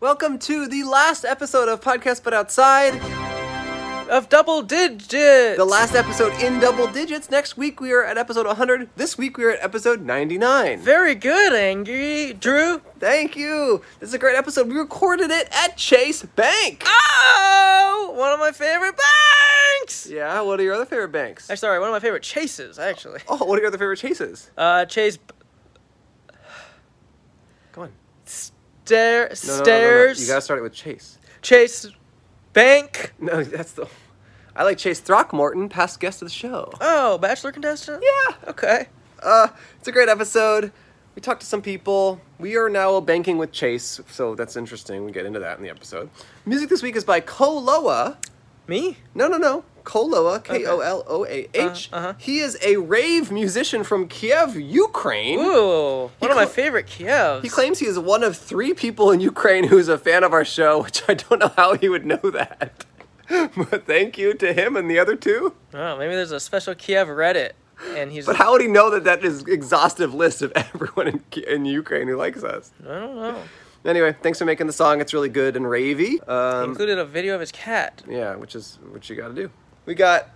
Welcome to the last episode of Podcast But Outside. Of double digits. The last episode in double digits. Next week we are at episode 100. This week we are at episode 99. Very good, Angry Drew. Thank you. This is a great episode. We recorded it at Chase Bank. Ah! Oh, one of my favorite banks. Yeah, what are your other favorite banks? Actually, sorry, one of my favorite chases, actually. Oh, what are your other favorite chases? Uh, chase Come on. stair No, no, no, no, no. stairs. You gotta start it with Chase. Chase bank. No, that's the. I like Chase Throckmorton, past guest of the show. Oh, bachelor contestant. Yeah. Okay. Uh, it's a great episode. We talked to some people. We are now banking with Chase, so that's interesting. We get into that in the episode. Music this week is by Koloa. Me? No, no, no. Koloa, K O L O A H. Uh, uh-huh. He is a rave musician from Kiev, Ukraine. Ooh, one of cla- my favorite Kievs. He claims he is one of three people in Ukraine who is a fan of our show, which I don't know how he would know that. but thank you to him and the other two. oh, maybe there's a special Kiev Reddit, and he's. But how would he know that that is exhaustive list of everyone in, Ki- in Ukraine who likes us? I don't know. Anyway, thanks for making the song. It's really good and ravey. He Um, included a video of his cat. yeah, which is what you got to do. We got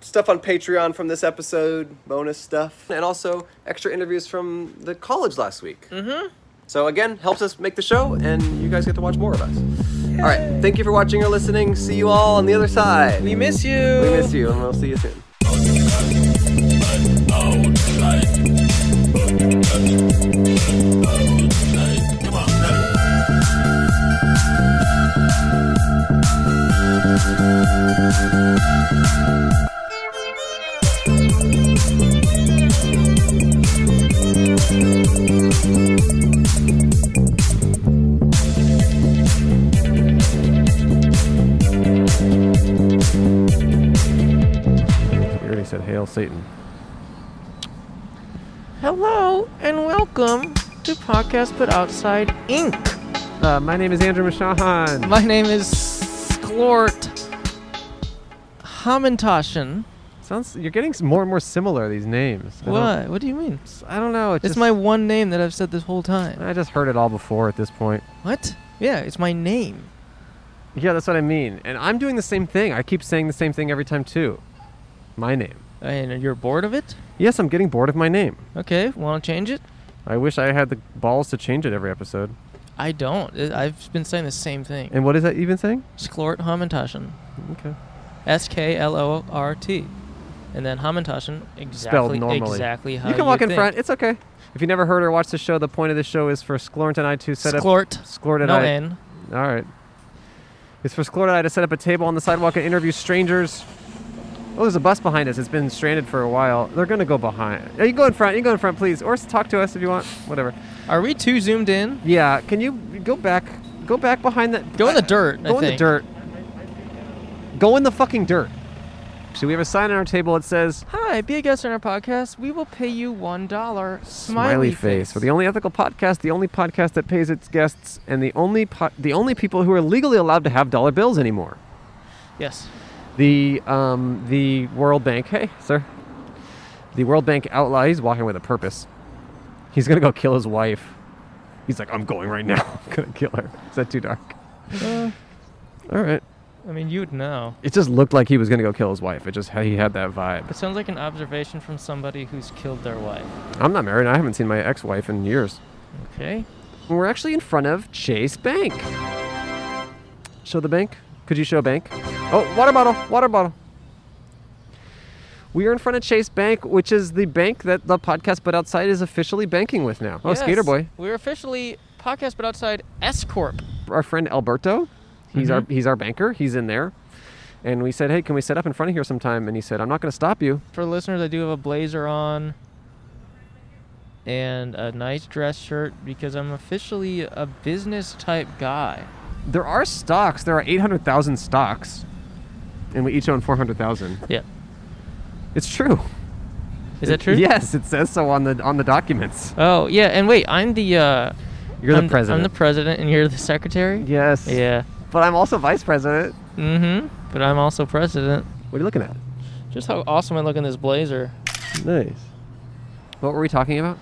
stuff on Patreon from this episode, bonus stuff, and also extra interviews from the college last week. Mm-hmm. So again, helps us make the show, and you guys get to watch more of us. All right, thank you for watching or listening. See you all on the other side. We miss you. We miss you, and we'll see you soon. We already said, "Hail Satan." Hello and welcome to Podcast But Outside Inc. Uh, my name is Andrew Mashahan. My name is Sklort Hamintoshin. Sounds you're getting more and more similar these names. What? What do you mean? I don't know. It's my one name that I've said this whole time. I just heard it all before at this point. What? Yeah, it's my name. Yeah, that's what I mean. And I'm doing the same thing. I keep saying the same thing every time too. My name. And you're bored of it? Yes, I'm getting bored of my name. Okay, want to change it? I wish I had the balls to change it every episode. I don't. I- I've been saying the same thing. And what is that even saying? Sklort Hamintoshin. Okay. Uh, S K L O R T. And then Hamintoshin, exactly, normally. exactly how you can walk in think. front. It's okay. If you never heard or watched the show, the point of this show is for Sklornt and I to set up. Sklort. Sklort and No I. N. All right. It's for Sklort and I to set up a table on the sidewalk and interview strangers. Oh, there's a bus behind us. It's been stranded for a while. They're gonna go behind. You can go in front. You can go in front, please, or s- talk to us if you want. Whatever. Are we too zoomed in? Yeah, can you go back? Go back behind that. Go in the dirt, I Go in the think. dirt. Go in the fucking dirt. So we have a sign on our table that says Hi, be a guest on our podcast. We will pay you one dollar. "Smiley Face." We're the only ethical podcast, the only podcast that pays its guests, and the only po- the only people who are legally allowed to have dollar bills anymore. yes. The um the World Bank. Hey, sir. The World Bank outlaw. He's walking with a purpose. He's gonna go kill his wife. He's like, "I'm going right now. I'm gonna kill her." Is that too dark? All right. I mean, you'd know. It just looked like he was gonna go kill his wife. It just he had that vibe. It sounds like an observation from somebody who's killed their wife. I'm not married. I haven't seen my ex-wife in years. Okay. We're actually in front of Chase Bank. Show the bank. Could you show bank? Oh, water bottle. Water bottle. We are in front of Chase Bank, which is the bank that the podcast but outside is officially banking with now. Oh, Yes, Skater Boy, We're officially podcast, but outside S Corp. our friend Alberto. He's Mm-hmm. our he's our banker. He's in there, and we said, "Hey, can we set up in front of here sometime?" And he said, "I'm not going to stop you." For listeners, I do have a blazer on and a nice dress shirt because I'm officially a business type guy. There are stocks. There are 800,000 stocks, and we each own 400,000. Yeah. It's true. Is that true? Yes, it says so on the on the documents. Oh yeah, and wait, I'm the. Uh, You're the I'm I'm the president. president, and you're the secretary. Yes. Yeah. But I'm also vice president. Mm-hmm. But I'm also president. What are you looking at? Just how awesome I look in this blazer. Nice. What were we talking about?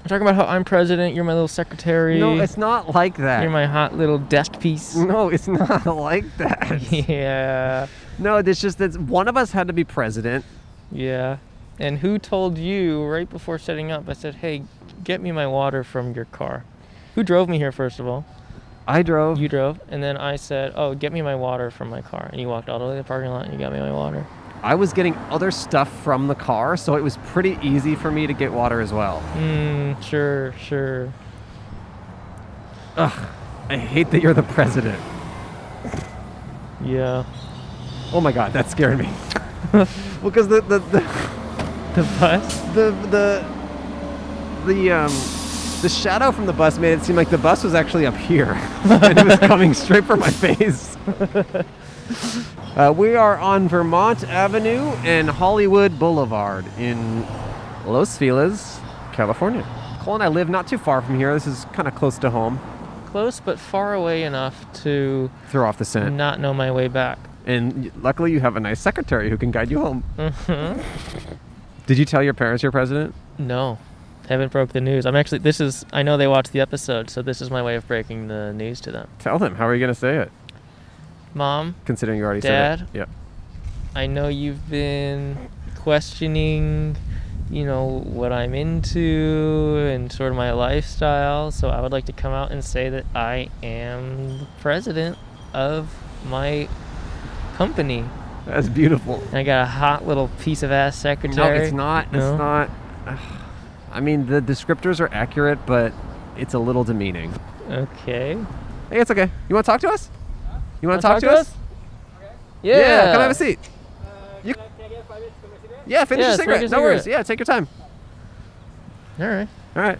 I'm talking about how I'm president. You're my little secretary. No, it's not Mm. like that. You're my hot little desk piece. no, it's not like that. yeah. No, it's just that one of us had to be president. Yeah. And who told you right before setting up? I said, hey, get me my water from your car. Who drove me here, first of all? I drove. You drove. And then I said, oh, get me my water from my car. And you walked all the way to the parking lot and you got me my water. I was getting other stuff from the car, so it was pretty easy for me to get water as well. Mm, sure, sure. Ugh, I hate that you're the president. Yeah. Oh my god, that scared me. well, because the the the The bus? the the the um the shadow from the bus made it seem like the bus was actually up here, and it was coming straight for my face. uh, we are on Vermont Avenue and Hollywood Boulevard in Los Feliz, California. Cole and I live not too far from here. This is kind of close to home. Close but far away enough to Throw off the scent. not know my way back. And y- luckily, you have a nice secretary who can guide you home. Mhm. Did you tell your parents you're president? No, haven't broke the news. I'm actually. This is. I know they watched the episode, so this is my way of breaking the news to them. Tell them. How are you going to say it? Mom, Considering you already said Dad? it. Yeah. I know you've been questioning, you know, what I'm into and sort of my lifestyle. So I would like to come out and say that I am the president of my company. That's beautiful. And I got a hot little piece of ass No, secretary. it's not. No? It's not. I mean, the descriptors are accurate, but it's a little demeaning. Okay. Hey, it's okay. You want to talk to us? You want Wanna to talk, to us? Yeah. Come have a seat. You- yeah, finish Yeah, your smoke your cigarette. No worries. cigarette. Yeah, take your time. All right. All right.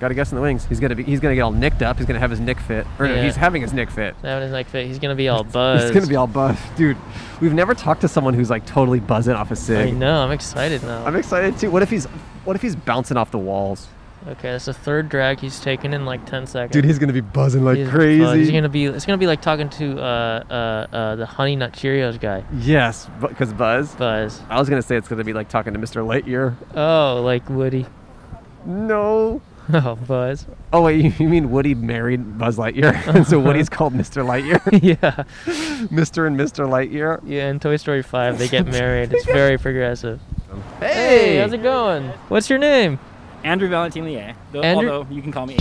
Got a guess in the wings. He's gonna be. He's gonna get all nicked up. He's gonna have his nick fit. Or no, Yeah. he's having his nick fit. That one is like fit. He's gonna be all buzzed. He's gonna be all buff, dude. We've never talked to someone who's like totally buzzing off a I cig. know. I'm excited now. I'm excited too. What if he's, what if he's bouncing off the walls, okay, that's the third drag he's taken in like ten seconds. dude? He's gonna be buzzing like He's crazy. buzzed. He's gonna be. It's gonna be like talking to uh uh, uh the Honey Nut Cheerios guy. yes, because buzz. Buzz. I was gonna say it's gonna be like talking to Mr. Lightyear. Oh, like Woody. No. Oh, Buzz. Oh wait, you- you mean Woody married Buzz Lightyear, and so Woody's called Mr. Lightyear, yeah. Mr. and Mr. Lightyear. Yeah. In Toy Story 5, they get married. It's very progressive. Hey, how's it going? What's your name? Andrew Valentin Lier, though, Andrew- although you can call me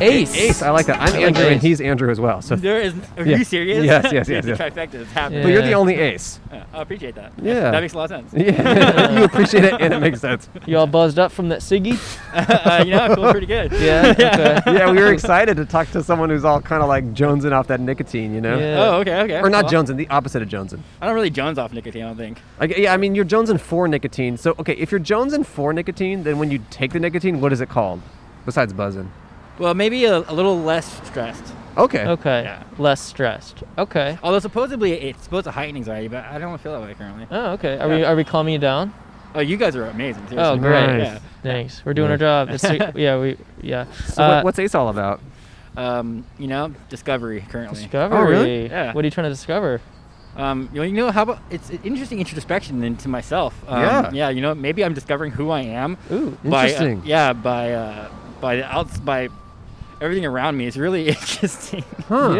Ace. Ace. Ace. I like that. I'm I like Andrew, and Ace. he's Andrew as well. So, There is. Are Yeah. you serious? Yes, yes, yes, yes. Dude, The trifecta is happening. but you're the Yeah. only Ace. Yeah, I appreciate that. Yeah. That makes a lot of sense. Yeah, you appreciate it, and it makes sense. You all buzzed up from that Siggy? uh, you know, I feel pretty good. Yeah. Okay. yeah, we were excited to talk to someone who's all kind of like jonesing off that nicotine, you know? Yeah. Oh, okay, okay. Or not Well, jonesing, the opposite of jonesing. I don't really Jones off nicotine, I don't think. Like, yeah, I mean, you're jonesing for nicotine. So, okay, if you're jonesing for nicotine, then when you take the nicotine, what is it called? Besides buzzing. Well, maybe a, a little less stressed. Okay. Okay. Yeah. Less stressed. Okay. Although supposedly it's supposed to heighten anxiety, but I don't feel that way currently. Oh, okay. Are we Yeah. are we calming you down? Oh, you guys are amazing. Seriously. Oh, great. Nice. Thanks. We're doing our job. It's yeah, we yeah. So, Uh, what, what's ACE all about? Yeah. Um, you know, discovery currently. discovery? really? Oh, Yeah. What are you trying to discover? Um, you know, you know, how about it's an interesting introspection into myself. Um, Yeah. Yeah. You know, maybe I'm discovering who I am. Ooh. By, Interesting. uh, yeah. By uh, by the outs by everything around me. It's really interesting. Huh.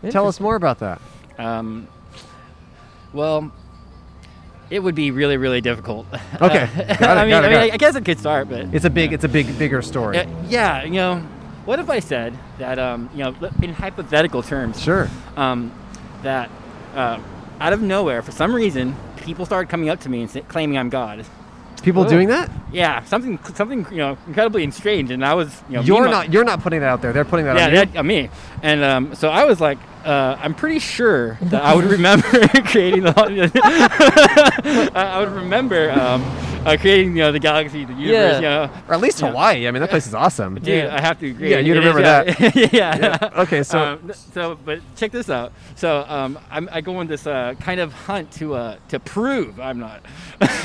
Yeah. Tell us more about that. Um, well, it would be really really difficult. Okay, Uh, got it, I mean, got it, I, mean got it. I, I guess it could start, but It's a big, it's a big, bigger story. yeah, yeah. You know, what if I said that? Um, you know, in hypothetical terms. Sure. um, that uh, out of nowhere, for some reason, people started coming up to me and sa- claiming I'm God. People Oh. Whoa. doing that? Yeah, something, something, you know, incredibly and strange. And I was, you know, You're meanwhile- not, you're not putting that out there. They're putting that yeah, out there. that, uh, me. And um, so I was like, uh, I'm pretty sure that I would remember creating the. I I would remember um, uh, creating, you know, the galaxy, the universe. Yeah. You know, Or at least Yeah. Hawaii. I mean, that place is awesome. Dude, Yeah. I have to agree. Yeah, you It remember is, yeah. yeah. Yeah. Okay, so- Um, th- so, but check this out. So, um, I'm, I go on this uh, kind of hunt to uh, to prove I'm not.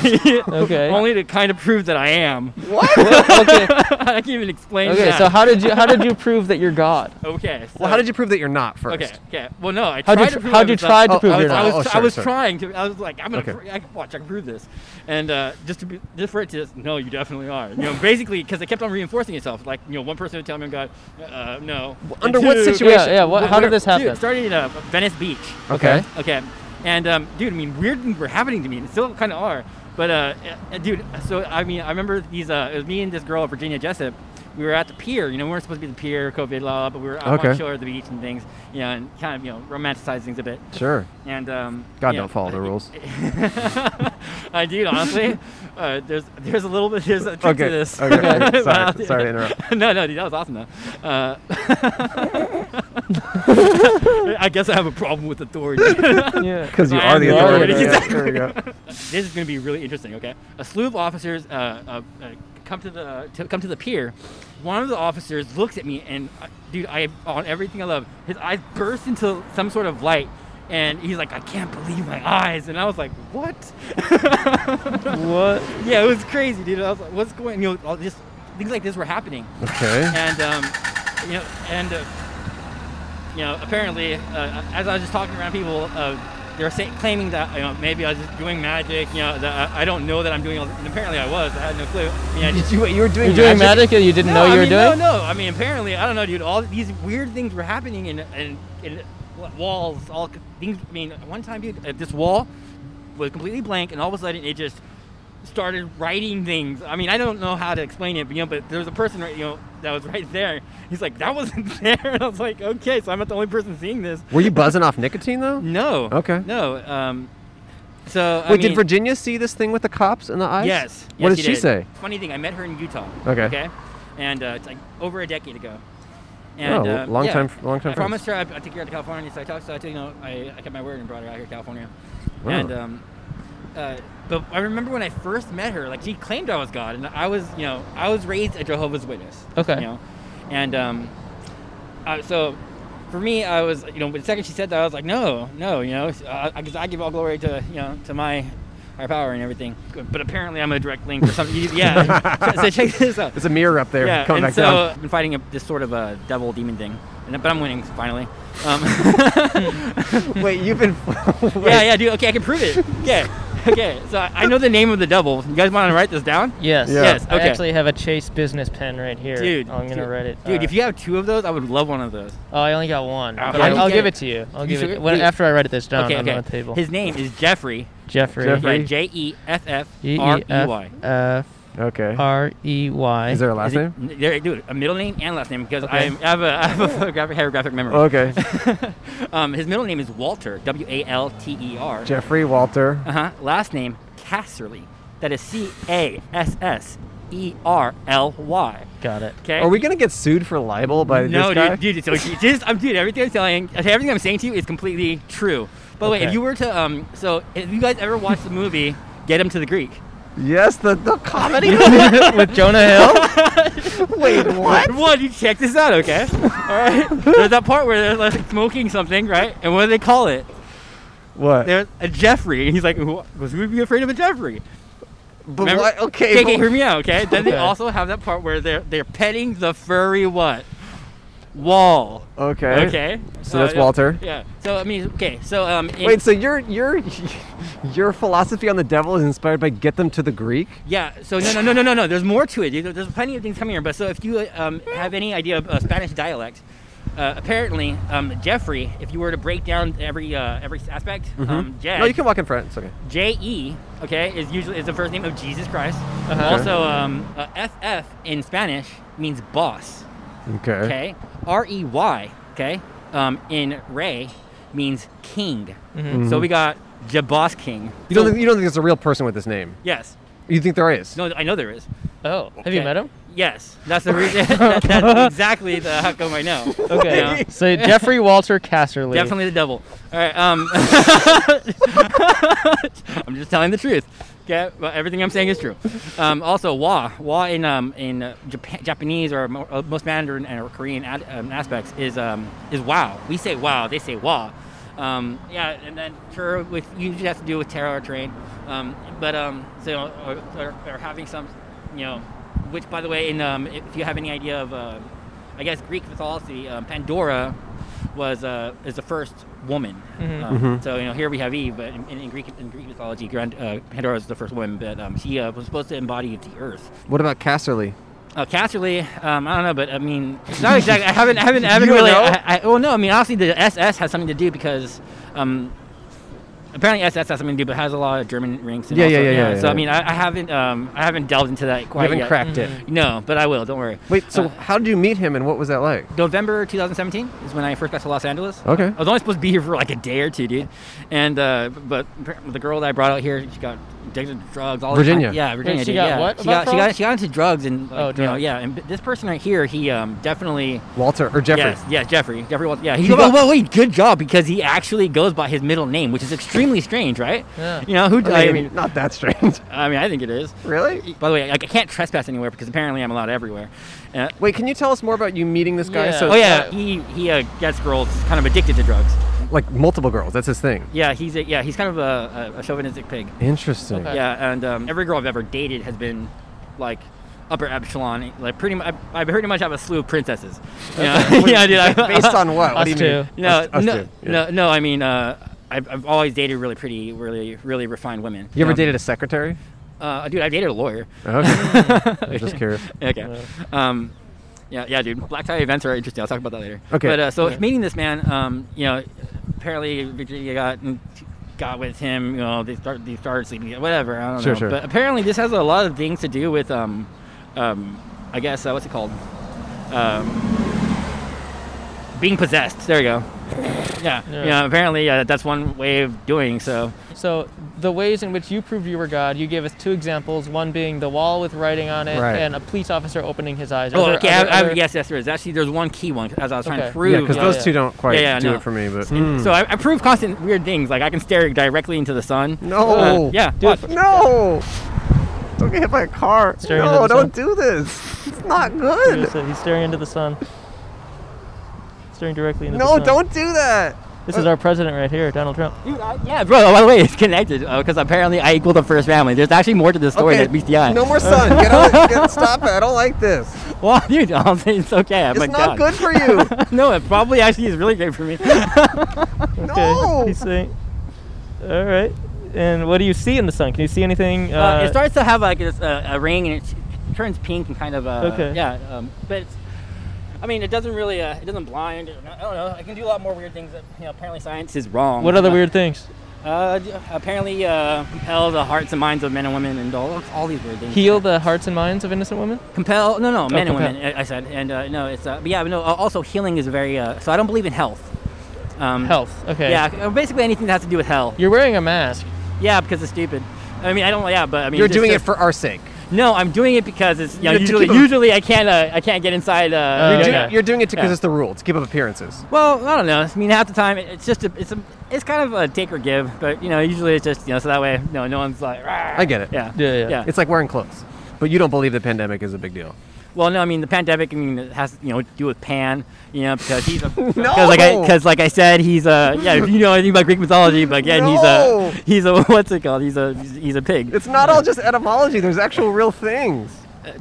Okay. Only to kind of prove that I am. Well, okay. I can't even explain. Okay. that. So how did you how did you prove that you're God? Okay. So, Well, how did you prove that you're not first? Okay. Okay. Well, no. I How'd you tried tr- to prove how'd I you was try to not- prove I was, you're I not? was, Oh, I sure, was sure. trying to. I was like, I'm gonna. Okay. pr- I can watch. I can prove this. And uh, just to be different to this. No, you definitely are. You know, basically, because it kept on reinforcing itself. Like, you know, one person would tell me, "I'm God, uh, no." under what Two- situation- Yeah, yeah. What, how did this Dude, happen? it started in uh, Venice Beach. Okay. Okay. And um, dude, I mean, weird things were happening to me, and still kind of are. But uh, uh, dude, so I mean, I remember these. Uh, it was me and this girl, Virginia Jessup. We were at the pier. You know, we weren't supposed to be at the pier, COVID law, but we were out Okay. on shore at the beach and things. You know, and kind of you know romanticize things a bit. Sure. And um, God, you know, don't follow the I- rules. I do honestly. Uh, there's there's a little bit there's a trick Okay, to this. okay, okay. Sorry- Wow. sorry to interrupt. no, no, dude, that was awesome though. Uh, I guess I have a problem with authority. yeah. Because you I are the am the authority. authority, Yeah, there we go. this is going to be really interesting. Okay, a slew of officers uh, uh, uh, come to the to come to the pier. One of the officers looks at me, and uh, dude, I on everything I love. His eyes burst into some sort of light, and he's like, "I can't believe my eyes!" And I was like, "What?" What? yeah, it was crazy, dude. I was like, "What's going?" You know, all this things like this were happening, Okay. and um, you know, and uh, you know, apparently, uh, as I was just talking around people, uh, they were say, claiming that you know maybe I was just doing magic. You know, that I, I don't know that I'm doing all. And apparently, I was. I had no clue. I mean, I just, you, were You're doing magic and you didn't know I you were mean, doing? No, no. I mean, apparently, I don't know, dude. All these weird things were happening, and and, and walls, all c- things. I mean, one time, dude, uh, this wall was completely blank, and all of a sudden, it just started writing things. I mean, I don't know how to explain it, but you know, but there was a person right, you know, that was right there. He's like, that wasn't there, and I was like, okay, so I'm not the only person seeing this. Were you buzzing off nicotine though? No. Okay. No. Um. So I Wait, did mean- Virginia see this thing with the cops in the eyes? Yes. What yes, did she say? Funny thing, I met her in Utah. Okay. Okay. And uh, it's like over a decade ago. Oh, uh, long yeah, time- long time I promised her I'd, I'd take her out to California, so I talked. So I, took, you know, I, I kept my word and brought her out here to California. Wow. And um, uh, but I remember when I first met her, like she claimed I was God, and I was, you know, I was raised a Jehovah's Witness. Okay. You know, and um, uh, so for me, I was, you know, the second she said that, I was like, no, no, you know, because I, give all glory to, you know, to my higher power and everything. But apparently, I'm a direct link or something. yeah. so check this out. There's a mirror up there. Yeah, Coming and back so down. I've been fighting a, this sort of a devil demon thing, and, but I'm winning finally. Um, Wait, you've been. yeah, yeah, dude. Okay, I can prove it. Okay, okay. So I, I know the name of the devil. You guys want to write this down? Yes. Yeah. Yes, I okay. actually have a Chase business pen right here. Dude, I'm gonna dude, write it. Dude, Uh, if you have two of those, I would love one of those. Oh, I only got one. Oh, But how I, do you will get give it? it to you. I'll You give it sure- when, dude. after I write this down okay, on okay. the table. His name is Jeffrey. Jeffrey. Jeffrey. Yeah, J E F F R E Y. okay. R E Y. Is there a last Is it- name? n- There, dude, a middle name and last name because Okay. I'm- I have a, I have a photographic, hieroglyphic memory. Okay. um, his middle name is Walter, W A L T E R. Jeffrey Walter. Uh huh. Last name Casserly. That is C A S S E R L Y. Got it. Okay. Are Oh, we gonna get sued for libel by No, this guy? dude, dude. So it's just, I'm, dude, everything I'm telling, everything I'm saying to you is completely true. By the way, if Okay. you were to, um, so if you guys ever watched the movie Get Him to the Greek, Yes, the, the comedy. With Jonah Hill? Wait, what? Well, you check this out, okay? All right. There's that part where they're like smoking something, right? And what do they call it? What? There's a Jeffrey, and he's like, "Who was who would be afraid of a Jeffrey?" but Remember- what? Okay. Okay, but- okay, hear me out, okay? Then they Okay. also have that part where they're they're petting the furry what wall. okay. Okay. Uh, So that's yeah, Walter. Yeah. So I mean, okay. So um. in- Wait, so your your your philosophy on the devil is inspired by get them to the Greek? Yeah. So no, no, no, no, no, no. There's more to it. dude. There- There's plenty of things coming here. But so if you uh, um, have any idea of uh, Spanish dialect, uh, apparently um, Jeffrey, if you were to break down every uh, every aspect, um, Jag, Mm-hmm. No, you can walk in front. It's okay. J E, okay, is usually is the first name of Jesus Christ. Uh-huh. Also, um, uh, F F in Spanish means boss. Okay. Okay. R E Y. Okay. Um, in Ray means king. So we got Jaboss King. Mm-hmm. You don't So- think, you don't think there's a real person with this name? yes. You think there is? No, I know there is. Oh, have you Okay. met him? Yes, that's the reason. that, that's exactly the how come I know. Okay. Yeah. So Jeffrey Walter Casserly. Definitely the devil. All right. Um, I'm just telling the truth. Okay, but everything I'm saying is true. Um, also, wa wa in um, in uh, Japan, Japanese or mo- uh, most Mandarin and or Korean ad, um, aspects is um, is wow. We say wow. They say wa. Um, yeah, and then sure, with usually has to do with tarot or train. Um, but um, so or, or, or having some, you know, which by the way, in um, if you have any idea of, uh, I guess Greek mythology, um, Pandora was uh, is the first woman. Mhm. Um, Mm-hmm. So you know, here we have Eve, but in, in Greek in Greek mythology, Grand, uh, Pandora is the first woman, but um, she uh, was supposed to embody the earth. What about Casterly? Uh, Casterly, um, I don't know, but I mean, it's not exactly. I haven't, I haven't, I haven't You don't really. know? I, I, well, no, I mean, honestly, the SS has something to do because um, apparently SS has something to do, but has a lot of German rings. And Yeah, also, yeah, yeah, yeah, So yeah. I mean, I, I haven't, um, I haven't delved into that We quite haven't yet. cracked it. Mhm. No, but I will. Don't worry. Wait, so Uh, how did you meet him and what was that like? November 2017 is when I first got to Los Angeles. Okay. I was only supposed to be here for like a day or two, dude. And uh, but apparently the girl that I brought out here, she got addicted to drugs. All Virginia. The time. Yeah, Virginia. she dude, got yeah. what She about got, she got drugs? she got into drugs and like, Oh, you know, drugs. yeah. And b- this person right here, he um, definitely Walter or Jeffrey? Yes, yes, Jeffrey. Jeffrey Walter. Yeah, he, He well, got- well, wait, good job because he actually goes by his middle name, which is extremely strange, right? Yeah. You know who? I mean, not that strange. I mean, I think it is. really? By the way, I, I can't trespass anywhere because apparently I'm allowed everywhere. Uh, Wait, can you tell us more about you meeting this guy? Yeah. So, oh yeah, he he uh, gets girls kind of addicted to drugs. like multiple girls. That's his thing. Yeah, he's a, yeah he's kind of a, a- a chauvinistic pig. Interesting. Okay. Yeah, and um, every girl I've ever dated has been like upper epsilon. Like pretty, much, I, I pretty much have a slew of princesses. Yeah, yeah, dude. I, Based on what? what Us do you two. mean? no, Us- us no, two, yeah. no, no. I mean, uh, I've, I've always dated really pretty, really, really refined women. You ever Um, dated a secretary? Uh, dude, I dated a lawyer. Okay. I'm just curious. Okay. Um, yeah, yeah, dude. Black tie events are interesting. I'll talk about that later. Okay. But uh, so Yeah. meeting this man, um, you know, apparently Virginia got got with him. You know, they start they started sleeping together, whatever. I don't Sure, know. sure. But apparently, this has a lot of things to do with um, um, I guess uh, what's it called? Um, being possessed. There you go. Yeah. Yeah. Yeah. You know, apparently, uh, that's one way of doing so. So the ways in which you proved you were God, you gave us two examples. One being the wall with writing on it, Right. and a police officer opening his eyes. Are Oh, there okay. I, other- I, other- yes, yes, there is. Actually, there's one key one as I was trying Okay. to prove. Yeah, because Yeah, those yeah. two don't quite Yeah, yeah, do no. it for me. But hmm. Hmm. So I, I prove constant weird things. Like I can stare directly into the sun. No. Uh, yeah. Dude, watch. no, don't get hit by a car. Staring into the sun. do this. It's not He good. was- He's staring into the sun. Staring directly into the No, sun. don't do that. This is our president right here, Donald Trump. Dude, I- yeah, bro. oh, By the way, it's connected because apparently I equal the first family. There's actually more to the story that meets the eye. No more sun. Get out. Get, stop it. I don't like this. Well, dude, I'll say it's okay. It's my not God. good for Oh you. no, it probably actually is really great for me. Uh, No. He's saying. All right. And what do you see in the sun? Can you see anything? uh, it starts to have like this, uh, a ring and it turns pink and kind of uh, Okay. yeah um, but it's, i mean it doesn't really uh, it doesn't blind i don't know i can do a lot more weird things that you know apparently science is wrong What other Uh, weird things? uh, d- apparently uh, compel the hearts and minds of men and women and all, all these weird things Heal the hearts and minds of innocent women. compel no no men and compel. women I- i said and uh, no it's uh, but yeah no al- also healing is very uh, so i don't believe in health um, Health. Okay. yeah uh, basically anything that has to do with hell You're wearing a mask. yeah because it's stupid i mean i don't yeah but i mean You're just Oh, doing the- it for our sake. No, I'm doing it because it's you know, You're usually doing- Oh. usually I can't uh, I can't get inside. Uh, You're yeah, doing- You're, yeah. you're doing it because Yeah. it's the rule. It's give up appearances. well, I don't know. I mean, half the time it- it's just a, it's a, it's kind of a take or give, but you know, usually it's just you know, so that way no no one's like. "Rah." I get it. Yeah. Yeah, yeah. yeah. It's like wearing clothes. But you don't believe the pandemic is a big deal. Well, no, I mean the pandemic. I mean, it has you know to do with Pan, you know, because he's a because like I because like I said, he's a yeah. If you know anything about Greek mythology, but again, No. he's a he's a what's it called? He's a he's a pig. Uh, It's not all just etymology. There's actual real things.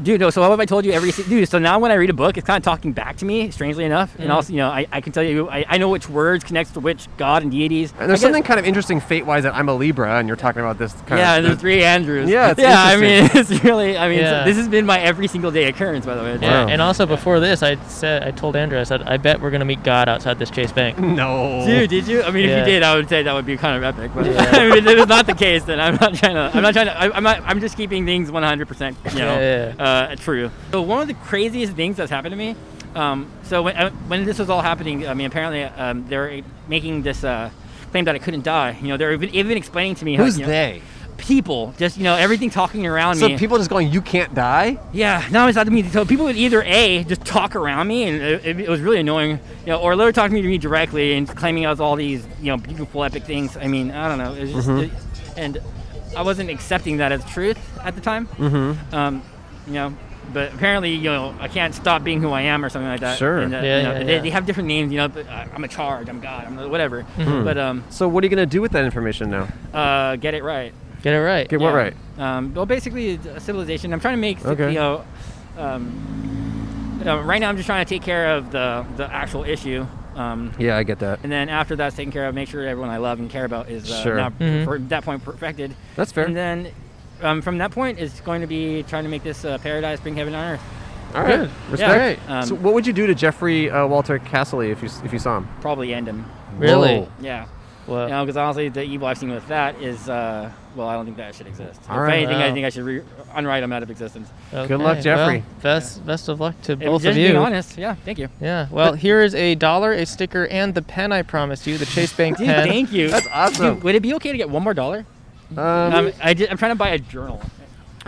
dude no so what have i told you every si- dude so now when i read a book it's kind of talking back to me strangely enough Mm-hmm. and also you know i, I can tell you I, I know which words connects to which god and deities And there's I guess- something kind of interesting fate-wise that I'm a Libra, and you're talking about this kind yeah, of. and there's three Andrews. Yeah, it's yeah. I mean, interesting. it's really. I mean, so Yeah. this has been my every single day occurrence, by the way. Yeah. Wow. And also before this, I said I told Andrew I said I bet we're gonna meet God outside this Chase Bank. No. Dude, did you? I mean, Yeah. if you did, I would say that would be kind of epic. But I mean, if it's not the case, then I'm not trying to. I'm not trying to. I, I'm not. I'm just keeping things 100%. You know, Yeah, Uh, true. So one of the craziest things that's happened to me. Um, so when uh, when this was all happening, I mean, apparently um, they're making this uh, claim that I couldn't die. You know, they're even, even explaining to me how, Who's you know, they? people, just you know, everything talking around So me. people just going, you can't die? Yeah, no, it's not me. So people would either a just talk around me, and it, it, it was really annoying, you know, or literally talking to me directly and claiming I was all these, you know, beautiful epic things. I mean, I don't know. It was just, Mm-hmm. it- and I wasn't accepting that as truth at the time. Mm-hmm. Um, you know, but apparently, you know, I can't stop being who I am or something like that. Sure. And, uh, Yeah, you know, yeah, they, yeah. they have different names, you know. But uh, I'm a charge. I'm God. I'm whatever. Mm-hmm. But um, So what are you going to do with that information now? uh, get it right. Get it right. Get what Yeah. right? Um, well, basically, it's a civilization. I'm trying to make, Okay. you know, um, uh, right now I'm just trying to take care of the, the actual issue. Um, Yeah, I get that. and then after that's taken care of, make sure everyone I love and care about is uh, Sure. now Mhm. for that point perfected. That's fair. And then um, from that point, it's going to be trying to make this uh, paradise, bring heaven on earth. All right, Good. respect. Yeah. so, Um, what would you do to Jeffrey uh, Walter Castley if you s- if you saw him? Probably end him. Really? Whoa. Yeah. Well, Uh. You know, because honestly, the evil I've seen with that is, uh, well, I don't think that should exist. All if right. anything, I Wow. think I should re- unwrite them out of existence. Good luck, okay. Jeffrey. Well, best best of luck to If both just of you. being honest, yeah, thank you. Yeah. Well, here is a dollar, a sticker, and the pen I promised you, the Chase Bank Dude, pen. thank you. That's awesome. Dude, would it be okay to get one more dollar? Um, Um, I am trying to buy a journal.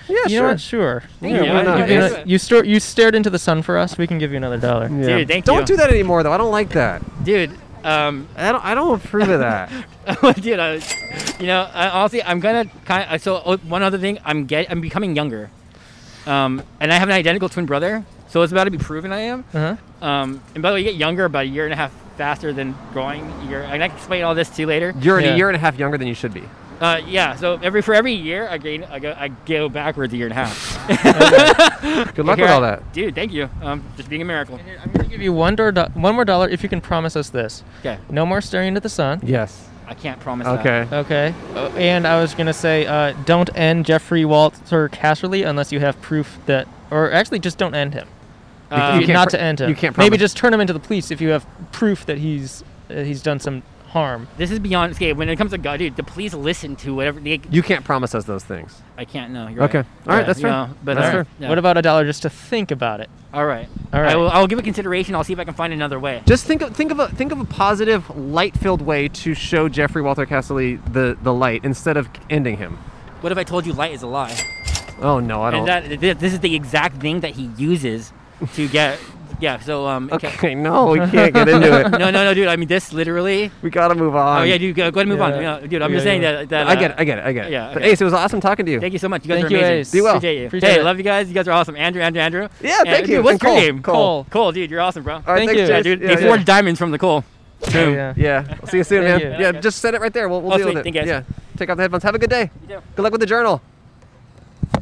yeah, you sure. know what? Sure. Thank Yeah, you. why I- not? I- You, know, you stor- you stared into the sun for us. We can give you another dollar. Yeah. Dude, thank don't you. do that anymore, though. I don't like that. Dude, um, oh, I don't. I don't approve of that. dude, I, you know, I, honestly, I'm gonna kind of. So oh, one other thing, I'm get, I'm becoming younger, um, and I have an identical twin brother, so it's about to be proven I am. Uh-huh. Um, and by the way, you get younger about a year and a half faster than growing. Year, and I can explain all this to you later. You're Yeah. a year and a half younger than you should be. Uh, yeah. So every for every year, I gain, I go, I go backwards a year and a half. Good luck Here with all I- that. dude. Thank you. Um, just being a miracle. Here, I'm gonna give you one door, do- one more dollar if you can promise us this. Okay, No more staring into the sun. Yes. I can't promise. that. Okay. Okay. Uh, and I was gonna say, uh, don't end Jeffrey Walter Casterly unless you have proof that, or actually, just don't end him. Um, Uh, you can't not pr- to end him. you can't Maybe promise. just turn him into the police if you have proof that he's uh, he's done some harm. this is beyond okay. When it comes to God, dude, the police listen to whatever they. You can't promise us those things. I can't know. You're Okay. Right. All right, that's you fair. know, but That's all fair. right, yeah. What about a dollar just to think about it? All right. All I right. will, I will give it consideration. I'll see if I can find another way. Just think of think of a think of a positive, light-filled way to show Jeffrey Walter Castley the the light instead of ending him. What if I told you light is a lie? Oh no, I don't. And that thi- this is the exact thing that he uses to get. Yeah. So um. okay. no, we can't get into it. no, no, no, dude. I mean, this literally. We gotta move on. oh yeah, dude. Go, go ahead and move on. yeah. Yeah, dude, I'm Yeah, just saying yeah. that. that I uh, get it. I get it. I get it. yeah, But okay. Ace, it was awesome talking to you. Thank you so much. You guys Thank are you, amazing. Ace. Be well. Appreciate you. Appreciate hey, it. love you guys. You guys are awesome. Andrew, Andrew, Andrew. Yeah, thank dude, you. what's And your Cole. name? Cole. Cole, dude. You're awesome, bro. All right, Thank thanks, you. Jace. yeah, dude. Yeah, they yeah. forged diamonds from the coal. Boom. Yeah. Yeah. I'll see you soon, man. Thank you. Yeah, Okay. just set it right there. We'll, we'll Oh, deal sweet. with it. Thank you, guys. Yeah. Take off the headphones. Have a good day. You too. Good luck with the journal.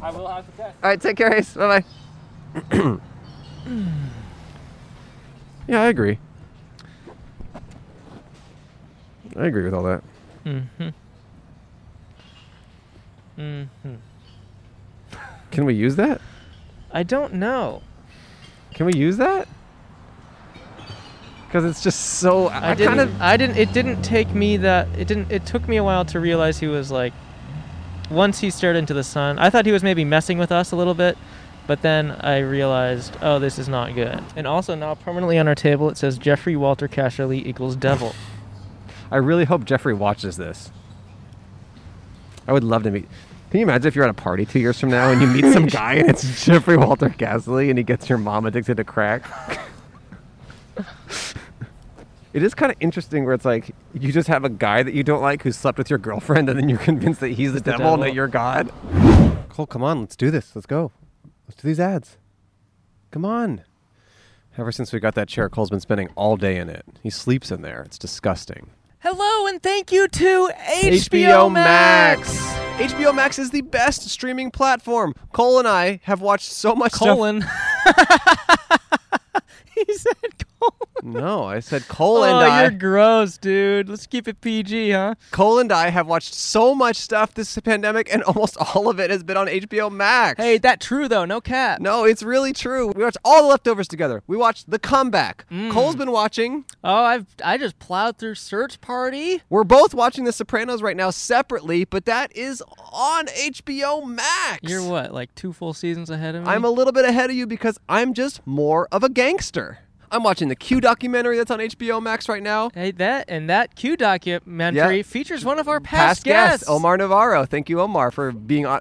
I will have success. All right, take care, Ace. Bye bye. yeah, I agree. I agree with all that. Mm-hmm. Mm-hmm. Can we use that? I don't know. Can we use that? Because it's just so. I, I, didn't. kind of. I didn't. It didn't take me that. It didn't. It took me a while to realize he was like. Once he stared into the sun, I thought he was maybe messing with us a little bit, but then I realized, oh, this is not good. And also now permanently on our table, it says Jeffrey Walter Casherly equals devil. I really hope Jeffrey watches this. I would love to meet. Can you imagine if you're at a party two years from now and you meet some guy and it's Jeffrey Walter Gasly and he gets your mom addicted to crack? it is kind of interesting where it's like you just have a guy that you don't like who slept with your girlfriend and then you're convinced that he's the, devil, and that devil. you're God. Cole, come on, let's do this. Let's go. Let's do these ads. Come on. Ever since we got that chair, Cole's been spending all day in it. He sleeps in there. It's disgusting. Hello and thank you to HBO Max. HBO Max is the best streaming platform. Cole and I have watched so much stuff. Colon. he said colon. No, I said Cole Oh, and I. you're gross, dude. Let's keep it PG, huh? Cole and I have watched so much stuff this pandemic, and almost all of it has been on HBO Max. Hey, that true though. No cap. No, it's really true. We watched all the leftovers together. We watched The Comeback. Mm. Cole's been watching. Oh, I've I just plowed through Search Party. We're both watching The Sopranos right now separately, but that is on HBO Max. You're what, like two full seasons ahead of me? I'm a little bit ahead of you because I'm just more of a gangster. I'm watching the Q documentary that's on HBO Max right now. Hey, that and that Q documentary Yeah. features one of our past, Past guest guests. Omar Navarro. Thank you, Omar, for being on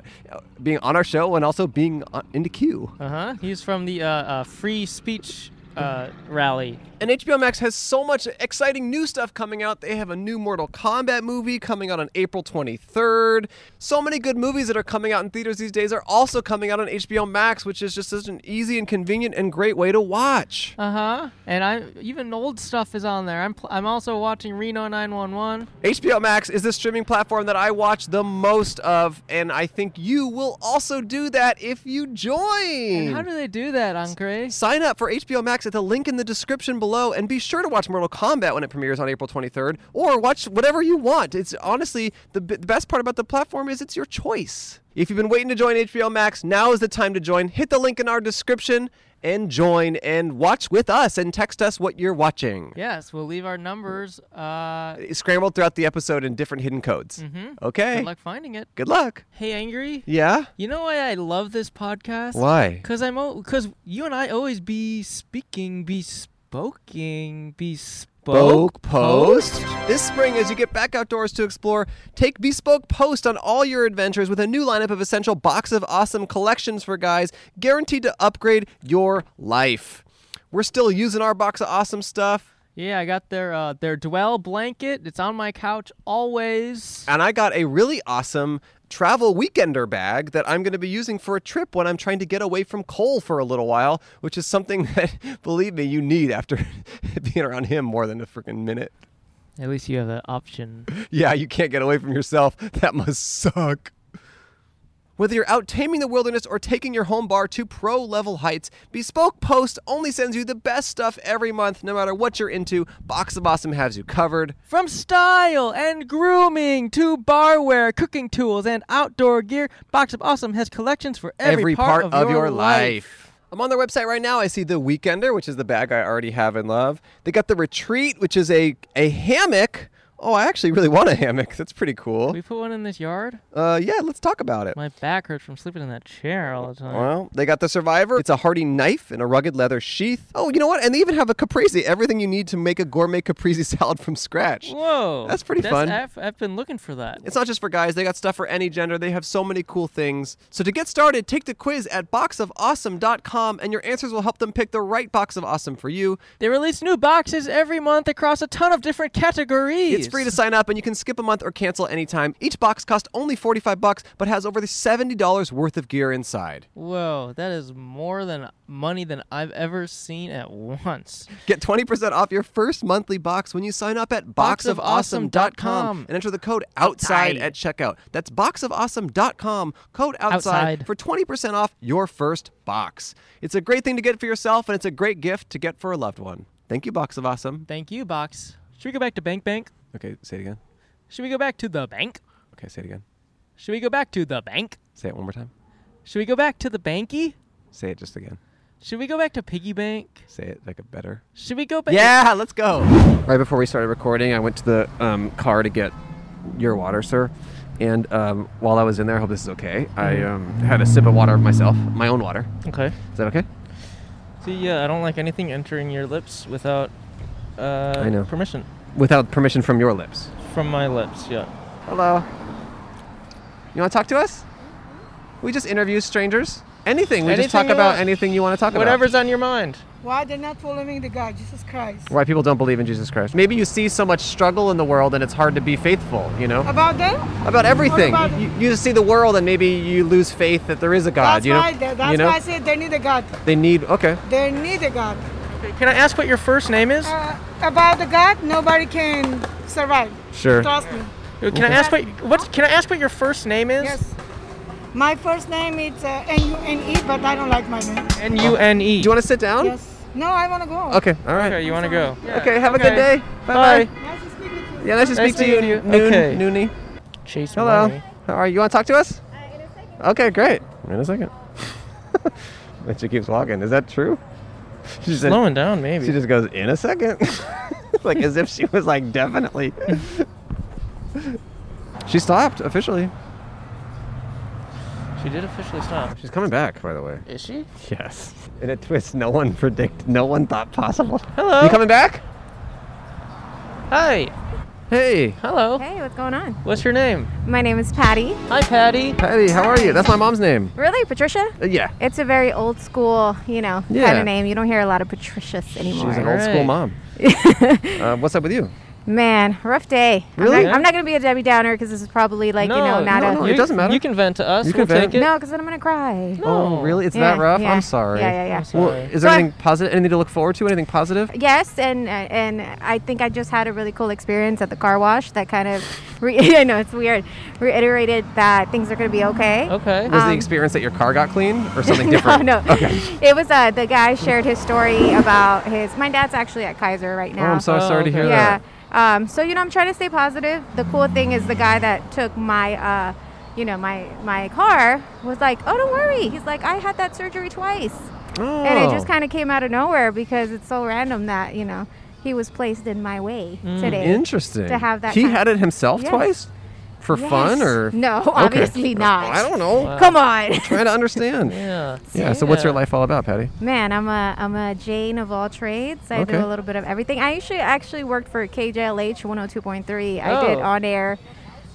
being on our show and also being on, into Q. Uh huh. He's from the uh, uh, free speech uh, rally. And HBO Max has so much exciting new stuff coming out. They have a new Mortal Kombat movie coming out on April 23rd. So many good movies that are coming out in theaters these days are also coming out on HBO Max, which is just such an easy and convenient and great way to watch. Uh huh. And I even old stuff is on there. I'm pl- I'm also watching Reno 911. HBO Max is the streaming platform that I watch the most of, and I think you will also do that if you join. And how do they do that, Uncre? Sign up for HBO Max at the link in the description below, and be sure to watch Mortal Kombat when it premieres on April 23rd, or watch whatever you want. It's honestly the, b- the best part about the platform is it's your choice. If you've been waiting to join HBO Max, now is the time to join. Hit the link in our description and join and watch with us and text us what you're watching. Yes, we'll leave our numbers. Uh, It's Scrambled throughout the episode in different hidden codes. Okay. Mm-hmm. good luck finding it. Good luck. Hey, angry. Yeah? You know why I love this podcast? Why? Cause I'm because you and I always be speaking, be spoking, be spoke Bespoke Post. This spring, as you get back outdoors to explore, take Bespoke Post on all your adventures with a new lineup of essential box of awesome collections for guys guaranteed to upgrade your life. We're still using our box of awesome stuff, Yeah, I got their uh, their dwell blanket. It's on my couch always. and I got a really awesome travel weekender bag that I'm going to be using for a trip when I'm trying to get away from Cole for a little while, which is something that, believe me, you need after being around him more than a freaking minute. At least you have an option. Yeah, you can't get away from yourself. That must suck. Whether you're out taming the wilderness or taking your home bar to pro level heights, Bespoke Post only sends you the best stuff every month, no matter what you're into. Box of Awesome has you covered. From style and grooming to barware, cooking tools, and outdoor gear, Box of Awesome has collections for every, part, of, your, life. I'm on their website right now. I see the Weekender, which is the bag I already have and love. They got the Retreat, which is a, a hammock. Oh, I actually really want a hammock. That's pretty cool. We put one in this yard. Uh, yeah, let's talk about it. My back hurts from sleeping in that chair all the time. Well, they got the Survivor. It's a hardy knife and a rugged leather sheath. Oh, you know what? And they even have a caprese, everything you need to make a gourmet caprese salad from scratch. Whoa, That's pretty fun. I've, I've been looking for that. It's not just for guys, they got stuff for any gender. They have so many cool things. So to get started, take the quiz at boxofawesome.com and your answers will help them pick the right box of awesome for you. They release new boxes every month across a ton of different categories. It's free to sign up and you can skip a month or cancel anytime. Each box costs only 45 bucks but has over $70 worth of gear inside. Whoa, that is more than money than I've ever seen at once. Get 20% off your first monthly box when you sign up at boxofawesome.com and enter the code outside at checkout. That's boxofawesome.com, code outside, Outside. for 20% off your first box. It's a great thing to get for yourself and it's a great gift to get for a loved one. Thank you, Box of Awesome. Thank you, box. Should we go back to bank bank? Okay, say it again. Should we go back to the bank? Okay, say it again. Should we go back to the bank? Say it one more time. Should we go back to the banky? Say it just again. Should we go back to piggy bank? Say it like a better. Should we go back? Yeah, let's go. Right before we started recording, I went to the um, car to get your water, sir. And um, while I was in there, I hope this is okay. I um, had a sip of water myself, my own water. Okay. Is that okay? See, yeah, I don't like anything entering your lips without uh, I know. permission Without permission from your lips. from my lips. Yeah. Hello. You want to talk to us? We just interview strangers. Anything. We just Anything talk you about want. anything you want to talk about. Whatever's on your mind. Why they're not following the God, Jesus Christ? Why people don't believe in Jesus Christ. Maybe you see so much struggle in the world and it's hard to be faithful, you know? About them? about everything. about it? you, you just see the world and maybe you lose faith that there is a God. that's Ah, you know, why. They, that's you know? why I said they need a God. they need. Okay, They need a God. Can I ask what your first name is? Uh, about the God, nobody can survive. sure. Trust me. Can I ask what what? Can I ask what your first name is? Yes. My first name is uh, N U N E, but I don't like my name. N U N E. Do you want to sit down? Yes. No, I want to go. Okay. All right. Okay, you want to go? Okay, Have a good day. Bye. Bye. Nice to speak with you. Yeah, nice to Nice speak to meeting you. you. Noon, Okay. Noonie. Chase Hello. money. How are you? You want to talk to us? Uh, in a second. Okay, great. In a second. but she keeps walking. Is that true? She said. Slowing down, maybe. She just goes in a second, like as if she was like definitely. she stopped officially. She did officially stop. She's coming back, by the way. Is she? Yes. In a twist no one predict no one thought possible. Hello. You coming back? Hi. Hey. Hello. Hey, what's going on? What's your name? My name is Patty. Hi, Patty. Patty, how are you? That's my mom's name. Really, Patricia? Uh, yeah. It's a very old school, you know, Yeah. kind of name. You don't hear a lot of Patricias anymore. She's an old school Alright. mom. uh, what's up with you? Man, rough day. Really? I'm not, I'm not gonna be a Debbie Downer because this is probably like you know not no, a no, no it doesn't matter. You can vent to us. You we'll can vent. take it. no because then I'm gonna cry. Oh, No. really? It's Yeah, that rough? yeah. I'm sorry. Yeah, yeah, yeah. I'm Well, sorry. is there So I- anything positive? Anything to look forward to? Anything positive? Yes, and uh, and I think I just had a really cool experience at the car wash that kind of re- I know it's weird reiterated that things are gonna be okay. Okay. Was the Um, experience that your car got clean or something different? No, no. It was uh, the guy shared his story about his. My dad's actually at Kaiser right Oh, now. I'm so Oh, sorry to okay. hear yeah. that. Um, so you know, I'm trying to stay positive. The cool thing is the guy that took my, uh, you know, my my car was like, oh, don't worry. He's like, I had that surgery twice, Oh. and it just kind of came out of nowhere because it's so random that you know he was placed in my way Mm, today. interesting. to have that He kind of- had it himself Yes. twice, for Yes. fun or no? Okay. Oh, Obviously not. I don't know. Wow. Come on. Trying to understand. yeah. Yeah. So what's your Yeah. life all about, Patty? Man, I'm a I'm a Jane of all trades. I Okay. do a little bit of everything. I actually actually worked for KJLH 102.3. I did Oh. on air